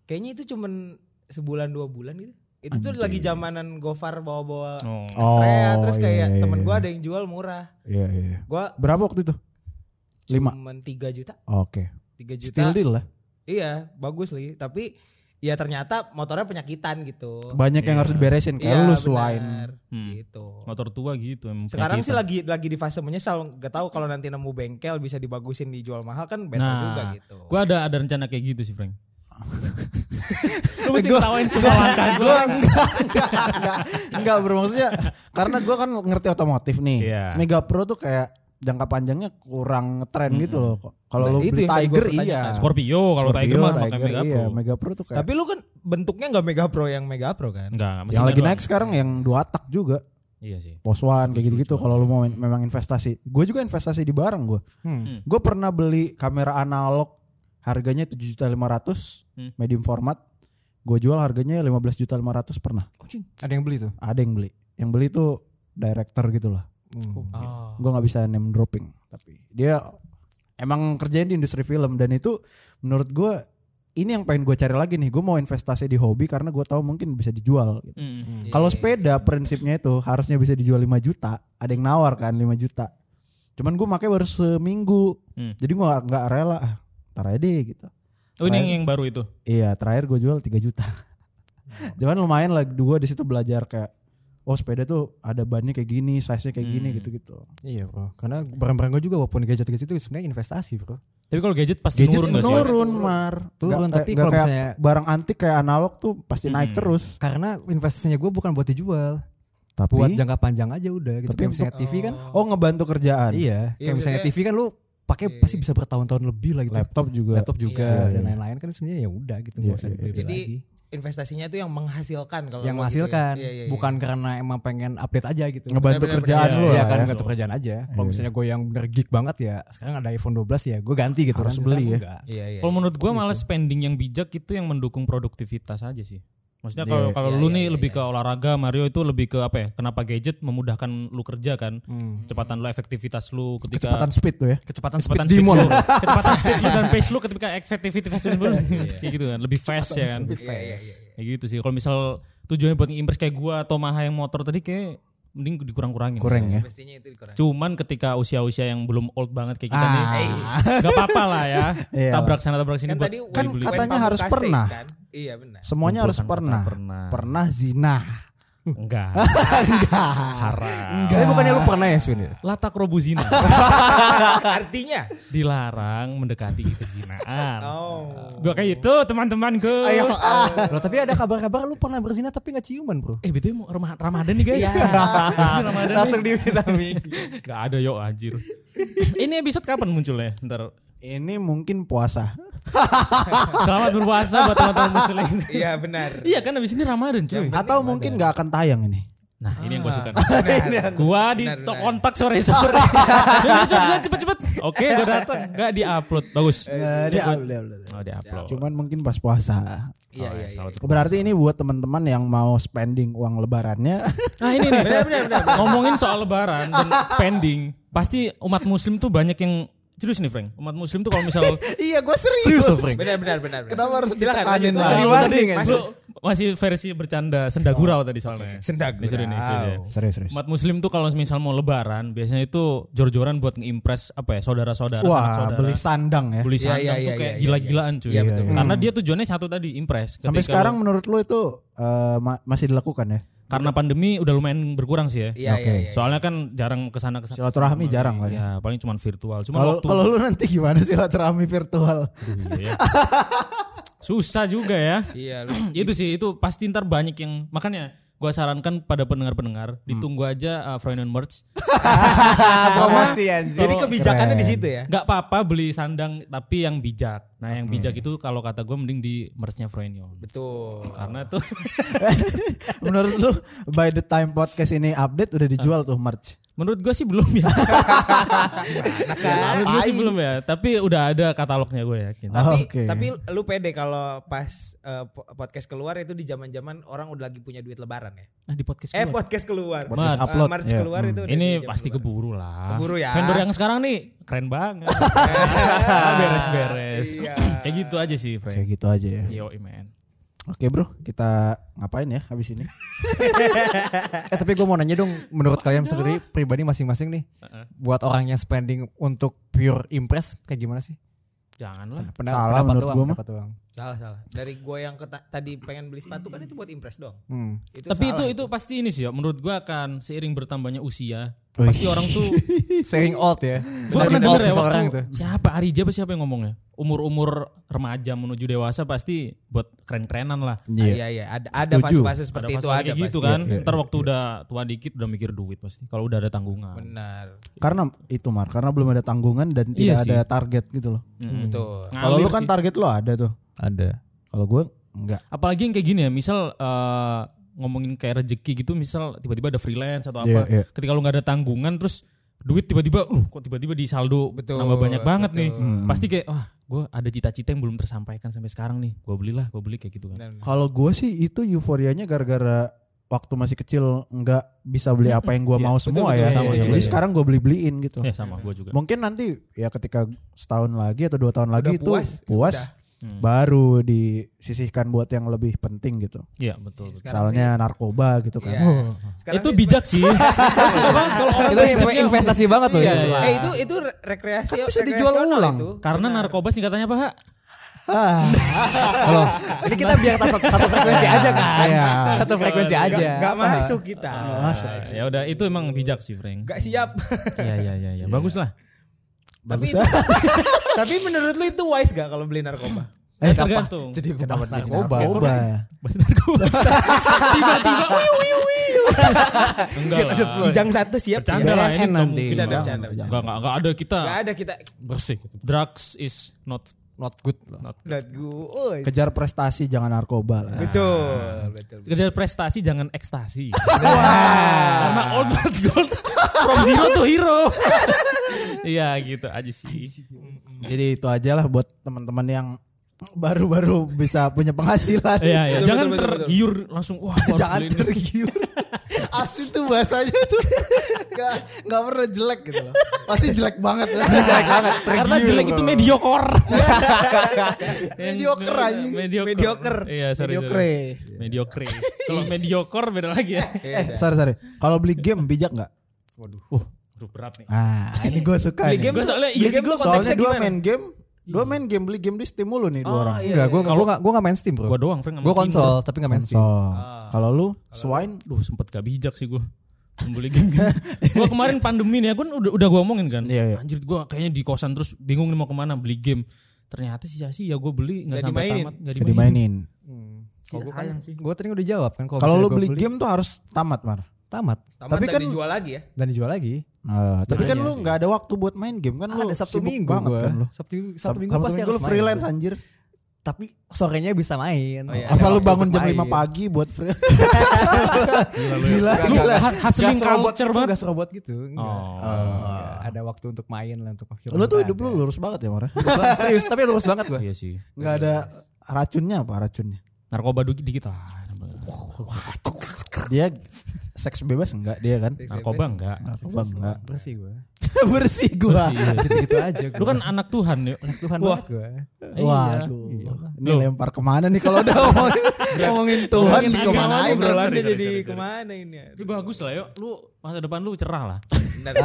Speaker 3: Kayaknya itu cuman sebulan dua bulan gitu. Itu tuh lagi zamanan Gofar bawa-bawa
Speaker 1: Oh.
Speaker 2: Oh,
Speaker 3: Astrea ya, terus kayak
Speaker 2: iya, iya, iya.
Speaker 3: temen gue ada yang jual murah.
Speaker 2: Iya iya. iya.
Speaker 3: Gue
Speaker 2: Berapa waktu itu? Lima.
Speaker 3: cuman 3 juta,
Speaker 2: Oke.
Speaker 3: 3 juta.
Speaker 2: Still deal lah.
Speaker 3: Iya, bagus li. Tapi ya ternyata motornya penyakitan gitu.
Speaker 2: Banyak yang harus diberesin kayak
Speaker 3: Iya,
Speaker 2: lu suain.
Speaker 3: benar. Gitu.
Speaker 1: Motor tua gitu emang.
Speaker 3: Sekarang sih
Speaker 1: Hmm. penyakitan.
Speaker 3: lagi lagi di fase menyesal, gak tahu kalau nanti nemu bengkel bisa dibagusin dijual mahal kan better
Speaker 1: Nah,
Speaker 3: juga gitu.
Speaker 1: Gue ada ada rencana kayak gitu sih, Frank. lu mesti ketawain semua langkah gue.
Speaker 2: enggak, enggak bro maksudnya karena gue kan ngerti otomotif nih.
Speaker 1: Iya.
Speaker 2: Mega Pro tuh kayak jangka panjangnya kurang tren gitu loh. Kalau
Speaker 3: Nah,
Speaker 2: lu
Speaker 3: itu
Speaker 2: beli
Speaker 3: yang tadi gua
Speaker 2: Tiger iya.
Speaker 3: pertanyakan.
Speaker 1: Scorpio kalau
Speaker 2: Scorpio,
Speaker 1: Tiger mah pakai
Speaker 2: Tiger,
Speaker 1: Mega
Speaker 2: iya,
Speaker 1: Pro.
Speaker 2: Mega Pro tuh kayak
Speaker 3: Tapi lu kan bentuknya nggak Mega Pro yang Mega Pro kan?
Speaker 1: Enggak,
Speaker 2: yang
Speaker 1: mesinnya
Speaker 2: lagi
Speaker 1: doang.
Speaker 2: naik sekarang yang dua tak juga.
Speaker 1: Iya sih.
Speaker 2: Poswan kayak gitu-gitu kalau lu mau men- memang investasi. Gue juga investasi di barang gue.
Speaker 3: Hmm.
Speaker 1: Hmm.
Speaker 2: Gue pernah beli kamera analog harganya 7.500
Speaker 1: Hmm.
Speaker 2: medium format. Gue jual harganya 15.500 pernah.
Speaker 4: Ada yang beli tuh.
Speaker 2: Ada yang beli. Yang beli tuh director gitu lah.
Speaker 1: iya.
Speaker 3: Oh.
Speaker 2: gue nggak bisa name dropping tapi dia emang kerjain di industri film dan itu menurut gue ini yang pengen gue cari lagi nih gue mau investasi di hobi karena gue tahu mungkin bisa dijual gitu.
Speaker 3: iya,
Speaker 1: Mm.
Speaker 2: kalau sepeda prinsipnya itu harusnya bisa dijual 5 juta ada yang nawar kan 5 juta cuman gue pakai baru seminggu
Speaker 1: Hmm.
Speaker 2: jadi gue nggak- nggak rela ah, ntar aja deh gitu
Speaker 1: Oh ini yang, yang baru itu.
Speaker 2: Iya, terakhir gue jual 3 juta.
Speaker 4: Hmm.
Speaker 2: Cuman lumayan lah gue di situ belajar kayak oh sepeda tuh ada bannya kayak gini, size-nya kayak gini gitu-gitu.
Speaker 4: Iya bro. Karena barang-barang gue juga walaupun gadget-gadget itu sebenarnya investasi bro.
Speaker 1: Tapi kalau gadget pasti
Speaker 2: Gadget
Speaker 1: nurun gak sih?
Speaker 2: turun, Mar.
Speaker 4: Turun,
Speaker 2: Nggak-
Speaker 4: tapi
Speaker 2: nggak
Speaker 4: kalau
Speaker 2: kayak
Speaker 4: misalnya-
Speaker 2: barang antik kayak analog tuh pasti naik terus.
Speaker 4: Karena investasinya gue bukan buat dijual.
Speaker 2: Tapi
Speaker 4: Buat jangka panjang aja udah gitu.
Speaker 2: Tapi
Speaker 4: Kayak misalnya TV kan.
Speaker 2: oh ngebantu kerjaan.
Speaker 4: Iya. Kayak misalnya TV kan lu pakai pasti bisa bertahun-tahun lebih lah gitu.
Speaker 2: Laptop juga.
Speaker 4: Laptop juga dan lain-lain kan sebenarnya ya udah gitu nggak usah dibeli
Speaker 3: iya. Jadi
Speaker 4: lagi.
Speaker 3: investasinya tuh yang menghasilkan kalau lu
Speaker 4: Yang
Speaker 3: gitu ya.
Speaker 4: menghasilkan
Speaker 3: Iya, iya, iya.
Speaker 4: bukan karena emang pengen update aja gitu.
Speaker 2: Ngebantu
Speaker 3: Bener-bener,
Speaker 2: kerjaan
Speaker 1: iya,
Speaker 2: lu
Speaker 4: Iya
Speaker 2: lah
Speaker 4: kan
Speaker 2: ya.
Speaker 4: ganti pekerjaan aja. Kalau misalnya gue yang bener geek banget ya, sekarang ada iPhone 12 ya, gue ganti gitu.
Speaker 2: Harus
Speaker 4: kan.
Speaker 2: beli
Speaker 4: Sekarang
Speaker 2: ya.
Speaker 4: enggak.
Speaker 3: Iya iya.
Speaker 1: Kalau menurut gue malah spending yang bijak itu yang mendukung produktivitas aja sih. Maksudnya kalau kalau lu nih lebih ke olahraga, Mario itu lebih ke apa ya? Kenapa gadget memudahkan lu kerja kan? Kecepatan lu, efektivitas lu ketika
Speaker 2: Kecepatan speed tuh ya.
Speaker 4: Kecepatan,
Speaker 1: kecepatan
Speaker 4: speed, demon.
Speaker 1: lu, kecepatan speed lu dan pace lu ketika efektivitas lu sebelum-
Speaker 2: Iya.
Speaker 1: kayak gitu kan, lebih fast ya kan.
Speaker 3: Iya iya iya.
Speaker 1: Kayak gitu sih. Kalau misal tujuannya buat impress kayak gua atau Maha yang motor tadi kayak mending dikurang-kurangin.
Speaker 2: Kurang ya.
Speaker 3: Mestinya itu dikurangin.
Speaker 1: Cuman ketika usia-usia yang belum old banget kayak kita
Speaker 2: Ah.
Speaker 1: nih, gak apa-apa lah ya.
Speaker 2: Iyalah.
Speaker 1: tabrak sana tabrak sini
Speaker 3: Kan
Speaker 1: buat
Speaker 3: tadi
Speaker 2: kan
Speaker 3: Wen- Wen
Speaker 2: katanya harus
Speaker 3: Pamungkas sih,
Speaker 2: pernah.
Speaker 3: kan? Iya benar.
Speaker 2: Semuanya harus
Speaker 1: Kumpulkan
Speaker 2: pernah.
Speaker 1: pernah.
Speaker 2: pernah. zina.
Speaker 1: enggak. Haram.
Speaker 4: Tapi bukannya lu pernah ya Swin? ya?
Speaker 1: Latak robuzina
Speaker 3: Artinya
Speaker 1: dilarang mendekati kezinaan.
Speaker 3: Oh.
Speaker 1: Gua kayak itu teman-temanku.
Speaker 4: Loh, tapi ada kabar-kabar lu pernah berzina tapi nggak ciuman bro.
Speaker 1: Eh BTW mau Rama- Ramadan nih guys. Habis
Speaker 3: Iya.
Speaker 1: ini Ramadan Langsung di Gak ada yo anjir. Ini episode kapan munculnya? Ntar.
Speaker 2: Ini mungkin puasa.
Speaker 1: Selamat berpuasa buat teman-teman muslim.
Speaker 3: iya benar.
Speaker 1: iya kan abis ini Ramadan cuy.
Speaker 2: Atau mungkin nggak akan tayang ini.
Speaker 1: Nah ini yang gue suka.
Speaker 3: Ah, Benar.
Speaker 1: Gua di
Speaker 3: Benar, benar.
Speaker 1: kontak sore-sore. Duluan, duluan, cepet-cepet. Oke gue datang. Gak di-upload. Bagus.
Speaker 2: Ya, dia- dia- dia- dia.
Speaker 1: Oh di-upload.
Speaker 2: Cuman mungkin pas puasa.
Speaker 1: Iya, iya, selamat berpuasa.
Speaker 2: Berarti ini buat teman-teman yang mau spending uang lebarannya.
Speaker 1: Nah ini nih. Ngomongin soal lebaran dan spending. Pasti umat muslim tuh banyak yang Serius nih Frank, umat muslim tuh kalau misal
Speaker 2: iya, gue serius.
Speaker 4: loh, Frank.
Speaker 3: Benar benar benar. benar.
Speaker 2: Kenapa harus
Speaker 3: silakan
Speaker 2: ditekanin lah?
Speaker 3: lanjut.
Speaker 1: Tadi
Speaker 3: lanjut.
Speaker 4: Tadi warning,
Speaker 1: Nah, tadi
Speaker 3: Masuk.
Speaker 1: Masih versi bercanda senda
Speaker 3: Oh,
Speaker 1: gurau tadi soalnya.
Speaker 3: Senda
Speaker 1: Ini serius, ini serius ya.
Speaker 2: Serius, serius.
Speaker 1: Umat muslim tuh kalau misal mau lebaran biasanya itu jor-joran buat ngeimpress apa ya saudara-saudara anak
Speaker 2: Wah,
Speaker 1: saudara.
Speaker 2: beli sandang ya.
Speaker 1: Beli
Speaker 3: Iya,
Speaker 1: sandang
Speaker 3: iya,
Speaker 1: tuh
Speaker 3: iya,
Speaker 1: kayak
Speaker 3: iya,
Speaker 1: gila-gilaan cuy.
Speaker 3: Iya, betul.
Speaker 1: Karena dia tujuannya satu tadi impress.
Speaker 2: Sampai
Speaker 1: Ketika
Speaker 2: sekarang
Speaker 1: lu-
Speaker 2: menurut lu itu eh, ma- masih dilakukan ya?
Speaker 1: karena pandemi udah lumayan berkurang sih ya.
Speaker 3: Iya iya iya.
Speaker 1: Soalnya kan jarang kesana kesana.
Speaker 2: Silaturahmi jarang lah ya.
Speaker 1: Ya paling cuman virtual. Cuma
Speaker 2: Kalau
Speaker 1: waktu
Speaker 2: kalau lu nanti gimana silaturahmi virtual?
Speaker 1: Iya. susah juga ya.
Speaker 3: Iya lu.
Speaker 1: itu sih itu pasti ntar banyak yang makanya gua sarankan pada pendengar-pendengar
Speaker 3: Hmm.
Speaker 1: ditunggu aja uh, Freudian merch
Speaker 4: Promosi anjir.
Speaker 3: Jadi kebijakannya di situ ya. Hmm.
Speaker 1: nggak apa-apa beli sandang tapi yang bijak nah yang bijak itu kalau kata gua mending di merchnya Freudian
Speaker 3: Betul.
Speaker 1: karena tuh
Speaker 2: Menurut lu by the time podcast ini update udah dijual tuh merch.
Speaker 1: Menurut gue sih belum ya. Menurut gue sih belum ya. Tapi udah ada katalognya gue yakin.
Speaker 2: Oh,
Speaker 3: Tapi,
Speaker 2: Oke.
Speaker 3: tapi lu pede kalau pas eh, po- podcast keluar itu di zaman-zaman orang udah lagi punya duit lebaran ya.
Speaker 1: Nah di podcast
Speaker 3: Eh
Speaker 1: keluar.
Speaker 3: podcast keluar.
Speaker 1: Podcast
Speaker 3: Eh,
Speaker 2: upload,
Speaker 3: March
Speaker 2: ya.
Speaker 3: keluar itu udah di
Speaker 1: Hmm. ini
Speaker 3: zaman
Speaker 1: pasti
Speaker 3: lebaran.
Speaker 1: keburu lah.
Speaker 3: Keburu ya.
Speaker 1: Vendor yang sekarang nih keren banget. Ah, Beres-beres.
Speaker 3: Iya.
Speaker 1: Kayak gitu aja sih, Frank.
Speaker 2: Kayak gitu aja ya.
Speaker 1: Yo, man.
Speaker 2: Oke bro, kita ngapain ya habis ini?
Speaker 4: Eh tapi gue mau nanya dong, menurut kalian sendiri pribadi masing-masing nih, buat orang yang spending untuk pure impress kayak gimana sih?
Speaker 1: Janganlah.
Speaker 4: Pena-
Speaker 2: Salah
Speaker 4: pendapat
Speaker 2: menurut
Speaker 4: doang,
Speaker 2: gua mah.
Speaker 4: pendapat doang.
Speaker 3: Salah salah. Dari gue yang keta- tadi pengen beli sepatu kan itu buat impress dong.
Speaker 4: Hmm.
Speaker 3: Itu
Speaker 1: Tapi
Speaker 3: salah.
Speaker 1: itu itu pasti ini sih, ya. menurut gua akan seiring bertambahnya usia, pasti orang tuh
Speaker 4: Saying old ya.
Speaker 1: Gua
Speaker 4: Saying
Speaker 1: pernah
Speaker 4: old
Speaker 1: denger ya
Speaker 4: seseorang
Speaker 1: waktu
Speaker 4: tuh.
Speaker 1: siapa Arija apa siapa yang ngomongnya? Umur-umur remaja menuju dewasa pasti buat keren-kerenan lah.
Speaker 3: Ah, iya iya ada ada
Speaker 2: Setuju.
Speaker 3: fase-fase seperti itu
Speaker 1: fase
Speaker 3: ada
Speaker 1: kayak gitu
Speaker 3: pasti.
Speaker 1: kan. Ntar waktu udah tua dikit udah mikir duit pasti. Kalau udah ada tanggungan.
Speaker 3: Benar.
Speaker 1: Hmm.
Speaker 2: Karena itu Mar, karena belum ada tanggungan dan
Speaker 1: Iya
Speaker 2: tidak
Speaker 1: sih.
Speaker 2: ada target gitu loh.
Speaker 3: Betul.
Speaker 2: Kalau
Speaker 1: Hmm. Ngalir
Speaker 2: lu kan
Speaker 1: sih.
Speaker 2: target lo ada tuh.
Speaker 4: Ada.
Speaker 2: Kalau gue enggak.
Speaker 1: apalagi yang kayak gini ya, misal eh, ngomongin kayak rezeki gitu, misal tiba-tiba ada freelance atau apa.
Speaker 2: Iya, iya.
Speaker 1: Ketika lu nggak ada tanggungan terus duit tiba-tiba uh kok tiba-tiba di saldo
Speaker 3: Betul,
Speaker 1: nambah banyak banget nih. Hmm. Pasti kayak wah, gua ada cita-cita yang belum tersampaikan sampai sekarang nih. Gua belilah, gua beli kayak gitu
Speaker 3: Nah.
Speaker 1: kan.
Speaker 2: Kalau gue sih itu euforianya gara-gara waktu masih kecil nggak bisa beli apa yang gue mau semua ya.
Speaker 3: betul, iya,
Speaker 1: sama,
Speaker 2: Jadi
Speaker 1: sama, iya.
Speaker 2: sekarang gue beli-beliin gitu.
Speaker 1: Ya sama gua juga.
Speaker 2: Mungkin nanti ya ketika setahun lagi atau dua tahun lagi itu
Speaker 3: puas,
Speaker 2: puas,
Speaker 3: ya udah.
Speaker 2: baru disisihkan buat yang lebih penting gitu.
Speaker 1: Iya, betul. betul.
Speaker 3: Sekarang
Speaker 2: Misalnya narkoba gitu kan.
Speaker 3: Iya. Sekarang
Speaker 1: itu
Speaker 3: sih
Speaker 1: bijak sih. Saya suka banget kalau orang Iya,
Speaker 4: Itu
Speaker 1: prinsipnya
Speaker 4: investasi banget gitu. loh.
Speaker 3: sebenarnya-
Speaker 4: itu.
Speaker 3: Eh itu itu re- rekreasi
Speaker 2: Kan bisa dijual
Speaker 3: rekreasional
Speaker 2: ulang. Kan
Speaker 3: itu.
Speaker 1: Karena narkoba singkatannya apa? Ha?
Speaker 2: Oh.
Speaker 4: Kalau ini kita biar tas- satu frekuensi aja kan.
Speaker 2: Iya.
Speaker 4: Satu frekuensi
Speaker 3: Nggak-
Speaker 4: aja.
Speaker 3: nggak masuk kita.
Speaker 1: Ya udah itu emang bijak sih, Frank.
Speaker 3: Gak siap.
Speaker 1: Iya iya iya ya. bagus lah.
Speaker 3: tapi
Speaker 2: Bagus ya.
Speaker 3: tapi menurut lu itu wise gak kalau beli narkoba?
Speaker 1: Eh,
Speaker 4: Kenapa?
Speaker 1: tergantung.
Speaker 4: Jadi gue bahas narkoba.
Speaker 2: Narkoba.
Speaker 1: Bahas narkoba. Tiba-tiba wiu wiu wiu. Enggak lah.
Speaker 3: Kijang satu siap.
Speaker 1: Ah. Bercanda lah ini
Speaker 2: BNN nanti.
Speaker 1: Enggak
Speaker 3: Bercanda, bercanda, bercanda.
Speaker 1: enggak enggak ada kita
Speaker 3: Gak ada kita.
Speaker 1: bersih. Drugs is not
Speaker 4: Not good. Not
Speaker 3: Let go. Oh,
Speaker 2: Kejar prestasi jangan narkoba lah.
Speaker 3: Betul, betul.
Speaker 1: kerja prestasi jangan ekstasi. Karena old blood gold from zero to hero. Iya gitu aja sih.
Speaker 2: Jadi itu aja lah buat teman-teman yang baru-baru bisa punya penghasilan.
Speaker 1: Iya iya
Speaker 3: Betul,
Speaker 1: jangan
Speaker 3: betul, betul, betul.
Speaker 1: tergiur langsung wah gua harus
Speaker 2: jangan
Speaker 1: beli ini.
Speaker 2: tergiur asli tuh bahasanya tuh nggak nggak pernah jelek gitu loh pasti jelek banget
Speaker 4: jelek banget.
Speaker 1: Karena
Speaker 4: tergiur.
Speaker 1: jelek itu mediocre. Yang-
Speaker 2: Mediocre, anjing.
Speaker 1: Iya, Mediocre.
Speaker 3: Mediocre.
Speaker 1: Iya, sorry,
Speaker 2: Mediocre.
Speaker 1: sorry. Mediocre. Kalau mediocre beda lagi ya.
Speaker 2: eh sorry sorry kalau beli game bijak nggak
Speaker 1: Waduh. Uh, aduh berat nih.
Speaker 2: ah ini gue suka
Speaker 3: Beli
Speaker 2: nih.
Speaker 3: game
Speaker 1: Gua soalnya iya sih, gua
Speaker 2: soalnya dua main game dua main game beli game di Steam mulu nih dua orang
Speaker 4: Enggak, gue kalau gue nggak main Steam bro.
Speaker 1: Gua doang, Frank, sama
Speaker 4: Gue
Speaker 1: Steam,
Speaker 4: konsol tapi nggak main Steam.
Speaker 2: so kalau lu swine
Speaker 1: Duh, sempet gak bijak sih gua. Membeli game gini. Gua kemarin pandemi nih, aku kan udah udah gua omongin kan.
Speaker 2: Iya, iya.
Speaker 1: Anjir gua kayaknya di kosan terus bingung nih mau kemana beli game. Ternyata sia-sia ya, gua beli nggak
Speaker 3: Nggak
Speaker 1: sampai
Speaker 3: dimainin.
Speaker 1: tamat, nggak
Speaker 2: gak
Speaker 1: dimainin.
Speaker 2: dimainin
Speaker 1: Kalau gua sayang sih.
Speaker 4: Gue tadi udah jawab kan kalau
Speaker 2: kalau
Speaker 4: misalnya
Speaker 2: lu
Speaker 4: gua
Speaker 2: beli game tuh harus tamat mar
Speaker 4: tamat
Speaker 3: tapi
Speaker 2: Tapi
Speaker 3: kan
Speaker 2: kan-
Speaker 3: dijual lagi ya.
Speaker 4: dan dijual lagi.
Speaker 2: Nah, tapi kan lu nggak ada waktu buat main game kan lu
Speaker 4: Ada Sabtu
Speaker 2: sibuk
Speaker 4: Minggu
Speaker 2: banget
Speaker 4: gua.
Speaker 2: kan lu
Speaker 4: Sabtu Sabtu Minggu
Speaker 2: Sabtu
Speaker 4: pasti
Speaker 2: Minggu lu
Speaker 4: harus main.
Speaker 2: freelance anjir
Speaker 4: Tapi sorenya bisa main.
Speaker 3: Oh, iya.
Speaker 2: apa lu
Speaker 4: waktu
Speaker 2: bangun
Speaker 4: untuk
Speaker 2: jam
Speaker 4: main.
Speaker 2: 5 pagi buat freelance
Speaker 1: Gila, lu has- hustling
Speaker 4: Gas robot
Speaker 1: culture
Speaker 4: gitu,
Speaker 1: banget.
Speaker 4: gas robot gitu. Enggak.
Speaker 1: Oh.
Speaker 4: Enggak, Ada waktu untuk main lah untuk akhir.
Speaker 2: Lu tuh hidup lu lurus banget ya Mar.
Speaker 4: serius tapi lurus banget gue.
Speaker 1: Iya sih.
Speaker 2: Gak ada racunnya apa racunnya?
Speaker 1: Narkoba dikit, dikit lah.
Speaker 2: Dia seks bebas enggak dia kan?
Speaker 1: Narkoba enggak.
Speaker 2: Narkoba enggak.
Speaker 4: Bersih gue.
Speaker 2: Bersih gua.
Speaker 4: Gitu-gitu gitu aja gue.
Speaker 1: Lu kan anak Tuhan yuk.
Speaker 4: anak Tuhan banget gue.
Speaker 2: Iya. Waduh. Ini lempar kemana nih kalau udah ngomongin, ngomongin Tuhan di kemana aja
Speaker 3: Obrolan
Speaker 2: berarti.
Speaker 3: dia jadi kemana ini ya?
Speaker 1: Tapi bagus lah yuk. Lu masa depan lu cerah lah.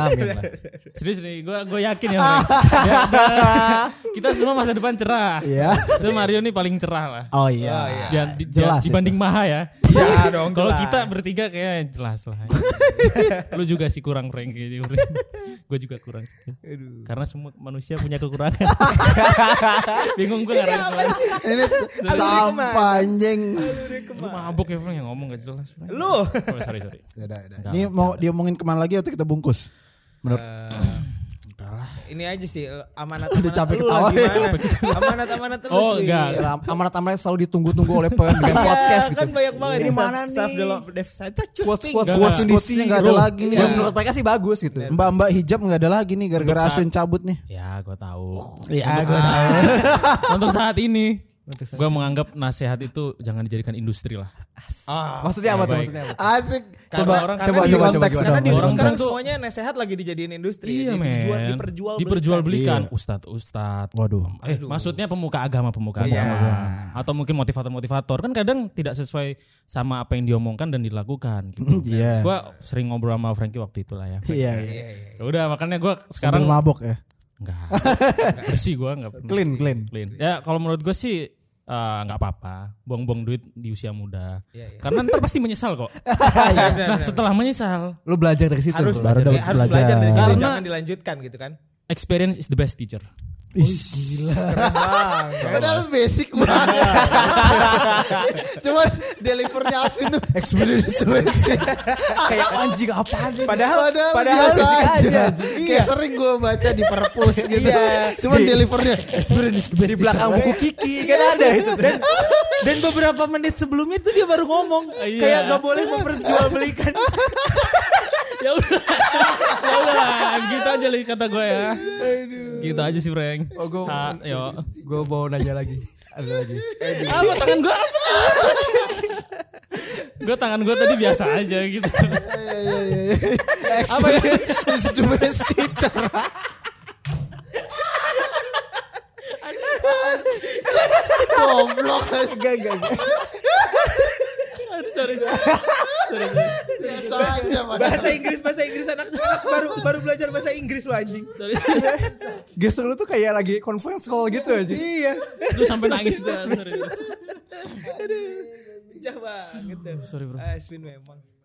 Speaker 4: Amin lah.
Speaker 1: Serius nih, gue gue yakin ya. Frank. Ya, udah. kita semua masa depan cerah.
Speaker 2: Iya.
Speaker 1: So Mario nih paling cerah lah.
Speaker 2: Oh iya.
Speaker 1: Dan di-
Speaker 2: Jelas itu.
Speaker 1: dibanding Maha ya.
Speaker 3: Iya dong.
Speaker 1: Kalau
Speaker 3: jelas.
Speaker 1: kita bertiga kayak jelas lah. Lu juga sih kurang Frank. gue juga kurang. Karena semua manusia punya kekurangan. Bingung gue ngarahin kemana.
Speaker 2: Ini sampah anjing.
Speaker 1: Lu mabok ya Frank yang ngomong gak jelas. Frank.
Speaker 3: Lu.
Speaker 1: Oh, sorry sorry.
Speaker 2: Ini mau diomongin kemana lagi atau kita bungkus? Menurut lah.
Speaker 3: ini aja sih amanat
Speaker 2: Udah capek ketawa.
Speaker 3: amanat amanat terus
Speaker 1: Oh,
Speaker 3: Wi.
Speaker 1: enggak.
Speaker 4: Ya, amanat-amanat selalu ditunggu-tunggu oleh pendengar podcast
Speaker 3: Iya,
Speaker 4: gitu.
Speaker 3: kan banyak banget
Speaker 4: Ini
Speaker 3: Self-
Speaker 4: mana nih?
Speaker 3: self develop- dev- saya tuh
Speaker 4: Quotes
Speaker 3: cuting.
Speaker 4: quotes
Speaker 1: Enggak,
Speaker 4: quotes
Speaker 1: enggak.
Speaker 4: Indonesia
Speaker 2: Quotesnya enggak ada lagi nih.
Speaker 4: Yang menurut mereka sih bagus gitu.
Speaker 2: Iya. Mbak-mbak hijab nggak ada lagi nih gara-gara
Speaker 1: Untuk saat-
Speaker 2: Aswin cabut nih.
Speaker 1: Ya gue tahu.
Speaker 2: Iya, gue tahu.
Speaker 1: Untuk saat ini gue menganggap nasihat itu jangan dijadikan industri lah.
Speaker 3: Ah,
Speaker 4: Maksudnya apa tuh
Speaker 1: Baik.
Speaker 4: maksudnya? apa?
Speaker 2: Asik. Coba
Speaker 1: orang- karena
Speaker 2: coba coba
Speaker 4: di-
Speaker 2: konteks
Speaker 4: karena
Speaker 2: dong.
Speaker 3: di orang
Speaker 1: Orang
Speaker 3: sekarang
Speaker 1: tuh-
Speaker 3: semuanya nasehat lagi dijadiin industri
Speaker 1: Iya men.
Speaker 3: diperjual diperjual
Speaker 1: Diperjual belikan.
Speaker 2: Iya.
Speaker 1: Ustad Ustad.
Speaker 2: Waduh.
Speaker 1: Eh, maksudnya pemuka agama pemuka
Speaker 2: Iya.
Speaker 1: agama atau mungkin motivator-motivator kan kadang tidak sesuai sama apa yang diomongkan dan dilakukan. Gitu.
Speaker 2: Iya.
Speaker 1: Gua sering ngobrol sama Frankie waktu itulah ya.
Speaker 2: Iya, iya.
Speaker 1: Ya Udah makanya gue
Speaker 2: Sambil
Speaker 1: sekarang
Speaker 2: mabok ya.
Speaker 1: Enggak. bersih gue enggak pernah
Speaker 2: Clean,
Speaker 1: sih.
Speaker 2: clean.
Speaker 1: Ya kalau menurut gue sih eh, nggak apa-apa buang-buang duit di usia muda
Speaker 2: Iya,
Speaker 1: karena ntar pasti menyesal kok nah setelah menyesal
Speaker 4: Lu belajar dari situ.
Speaker 3: harus
Speaker 4: bro.
Speaker 2: Baru
Speaker 3: belajar,
Speaker 2: dapat
Speaker 3: harus
Speaker 2: belajar.
Speaker 3: belajar dari situ
Speaker 1: Karena-
Speaker 3: jangan dilanjutkan gitu kan
Speaker 1: experience is the best teacher
Speaker 2: Ih, gila. Padahal basic banget. Cuman delivernya Aswin tuh experience basic.
Speaker 4: kayak anjing apaan nih?
Speaker 3: Padahal-
Speaker 2: padahal,
Speaker 3: padahal
Speaker 2: biasa
Speaker 3: basic
Speaker 2: aja.
Speaker 3: aja. Iya.
Speaker 2: Kayak sering gue baca di perpus gitu. Cuman delivernya experience the best
Speaker 4: Di belakang
Speaker 2: teacher.
Speaker 4: buku Kiki kan ada itu. Dan
Speaker 3: dan beberapa menit sebelumnya itu dia baru ngomong
Speaker 1: Iya.
Speaker 3: kayak gak boleh memperjual belikan
Speaker 1: ya udah ya udah gitu aja lagi kata gue ya gitu aja sih Frank oh,
Speaker 4: gua-
Speaker 1: yo
Speaker 4: gue mau nanya lagi. Ada lagi.
Speaker 1: apa tangan gue apa gue tangan gue tadi biasa aja gitu
Speaker 2: Experience is the best teacher. Goblok
Speaker 4: Enggak enggak. enggak.
Speaker 1: Aduh, sorry
Speaker 2: biasa aja padahal.
Speaker 3: bahasa Inggris bahasa Inggris anak anak baru baru belajar bahasa Inggris lo anjing
Speaker 1: sorry
Speaker 4: Gestur lu tuh kayak lagi conference call gitu aja. Iya.
Speaker 1: lu sampai nangis gue sorry
Speaker 3: Pecah banget. Sorry
Speaker 1: bro.
Speaker 3: Aswin memang.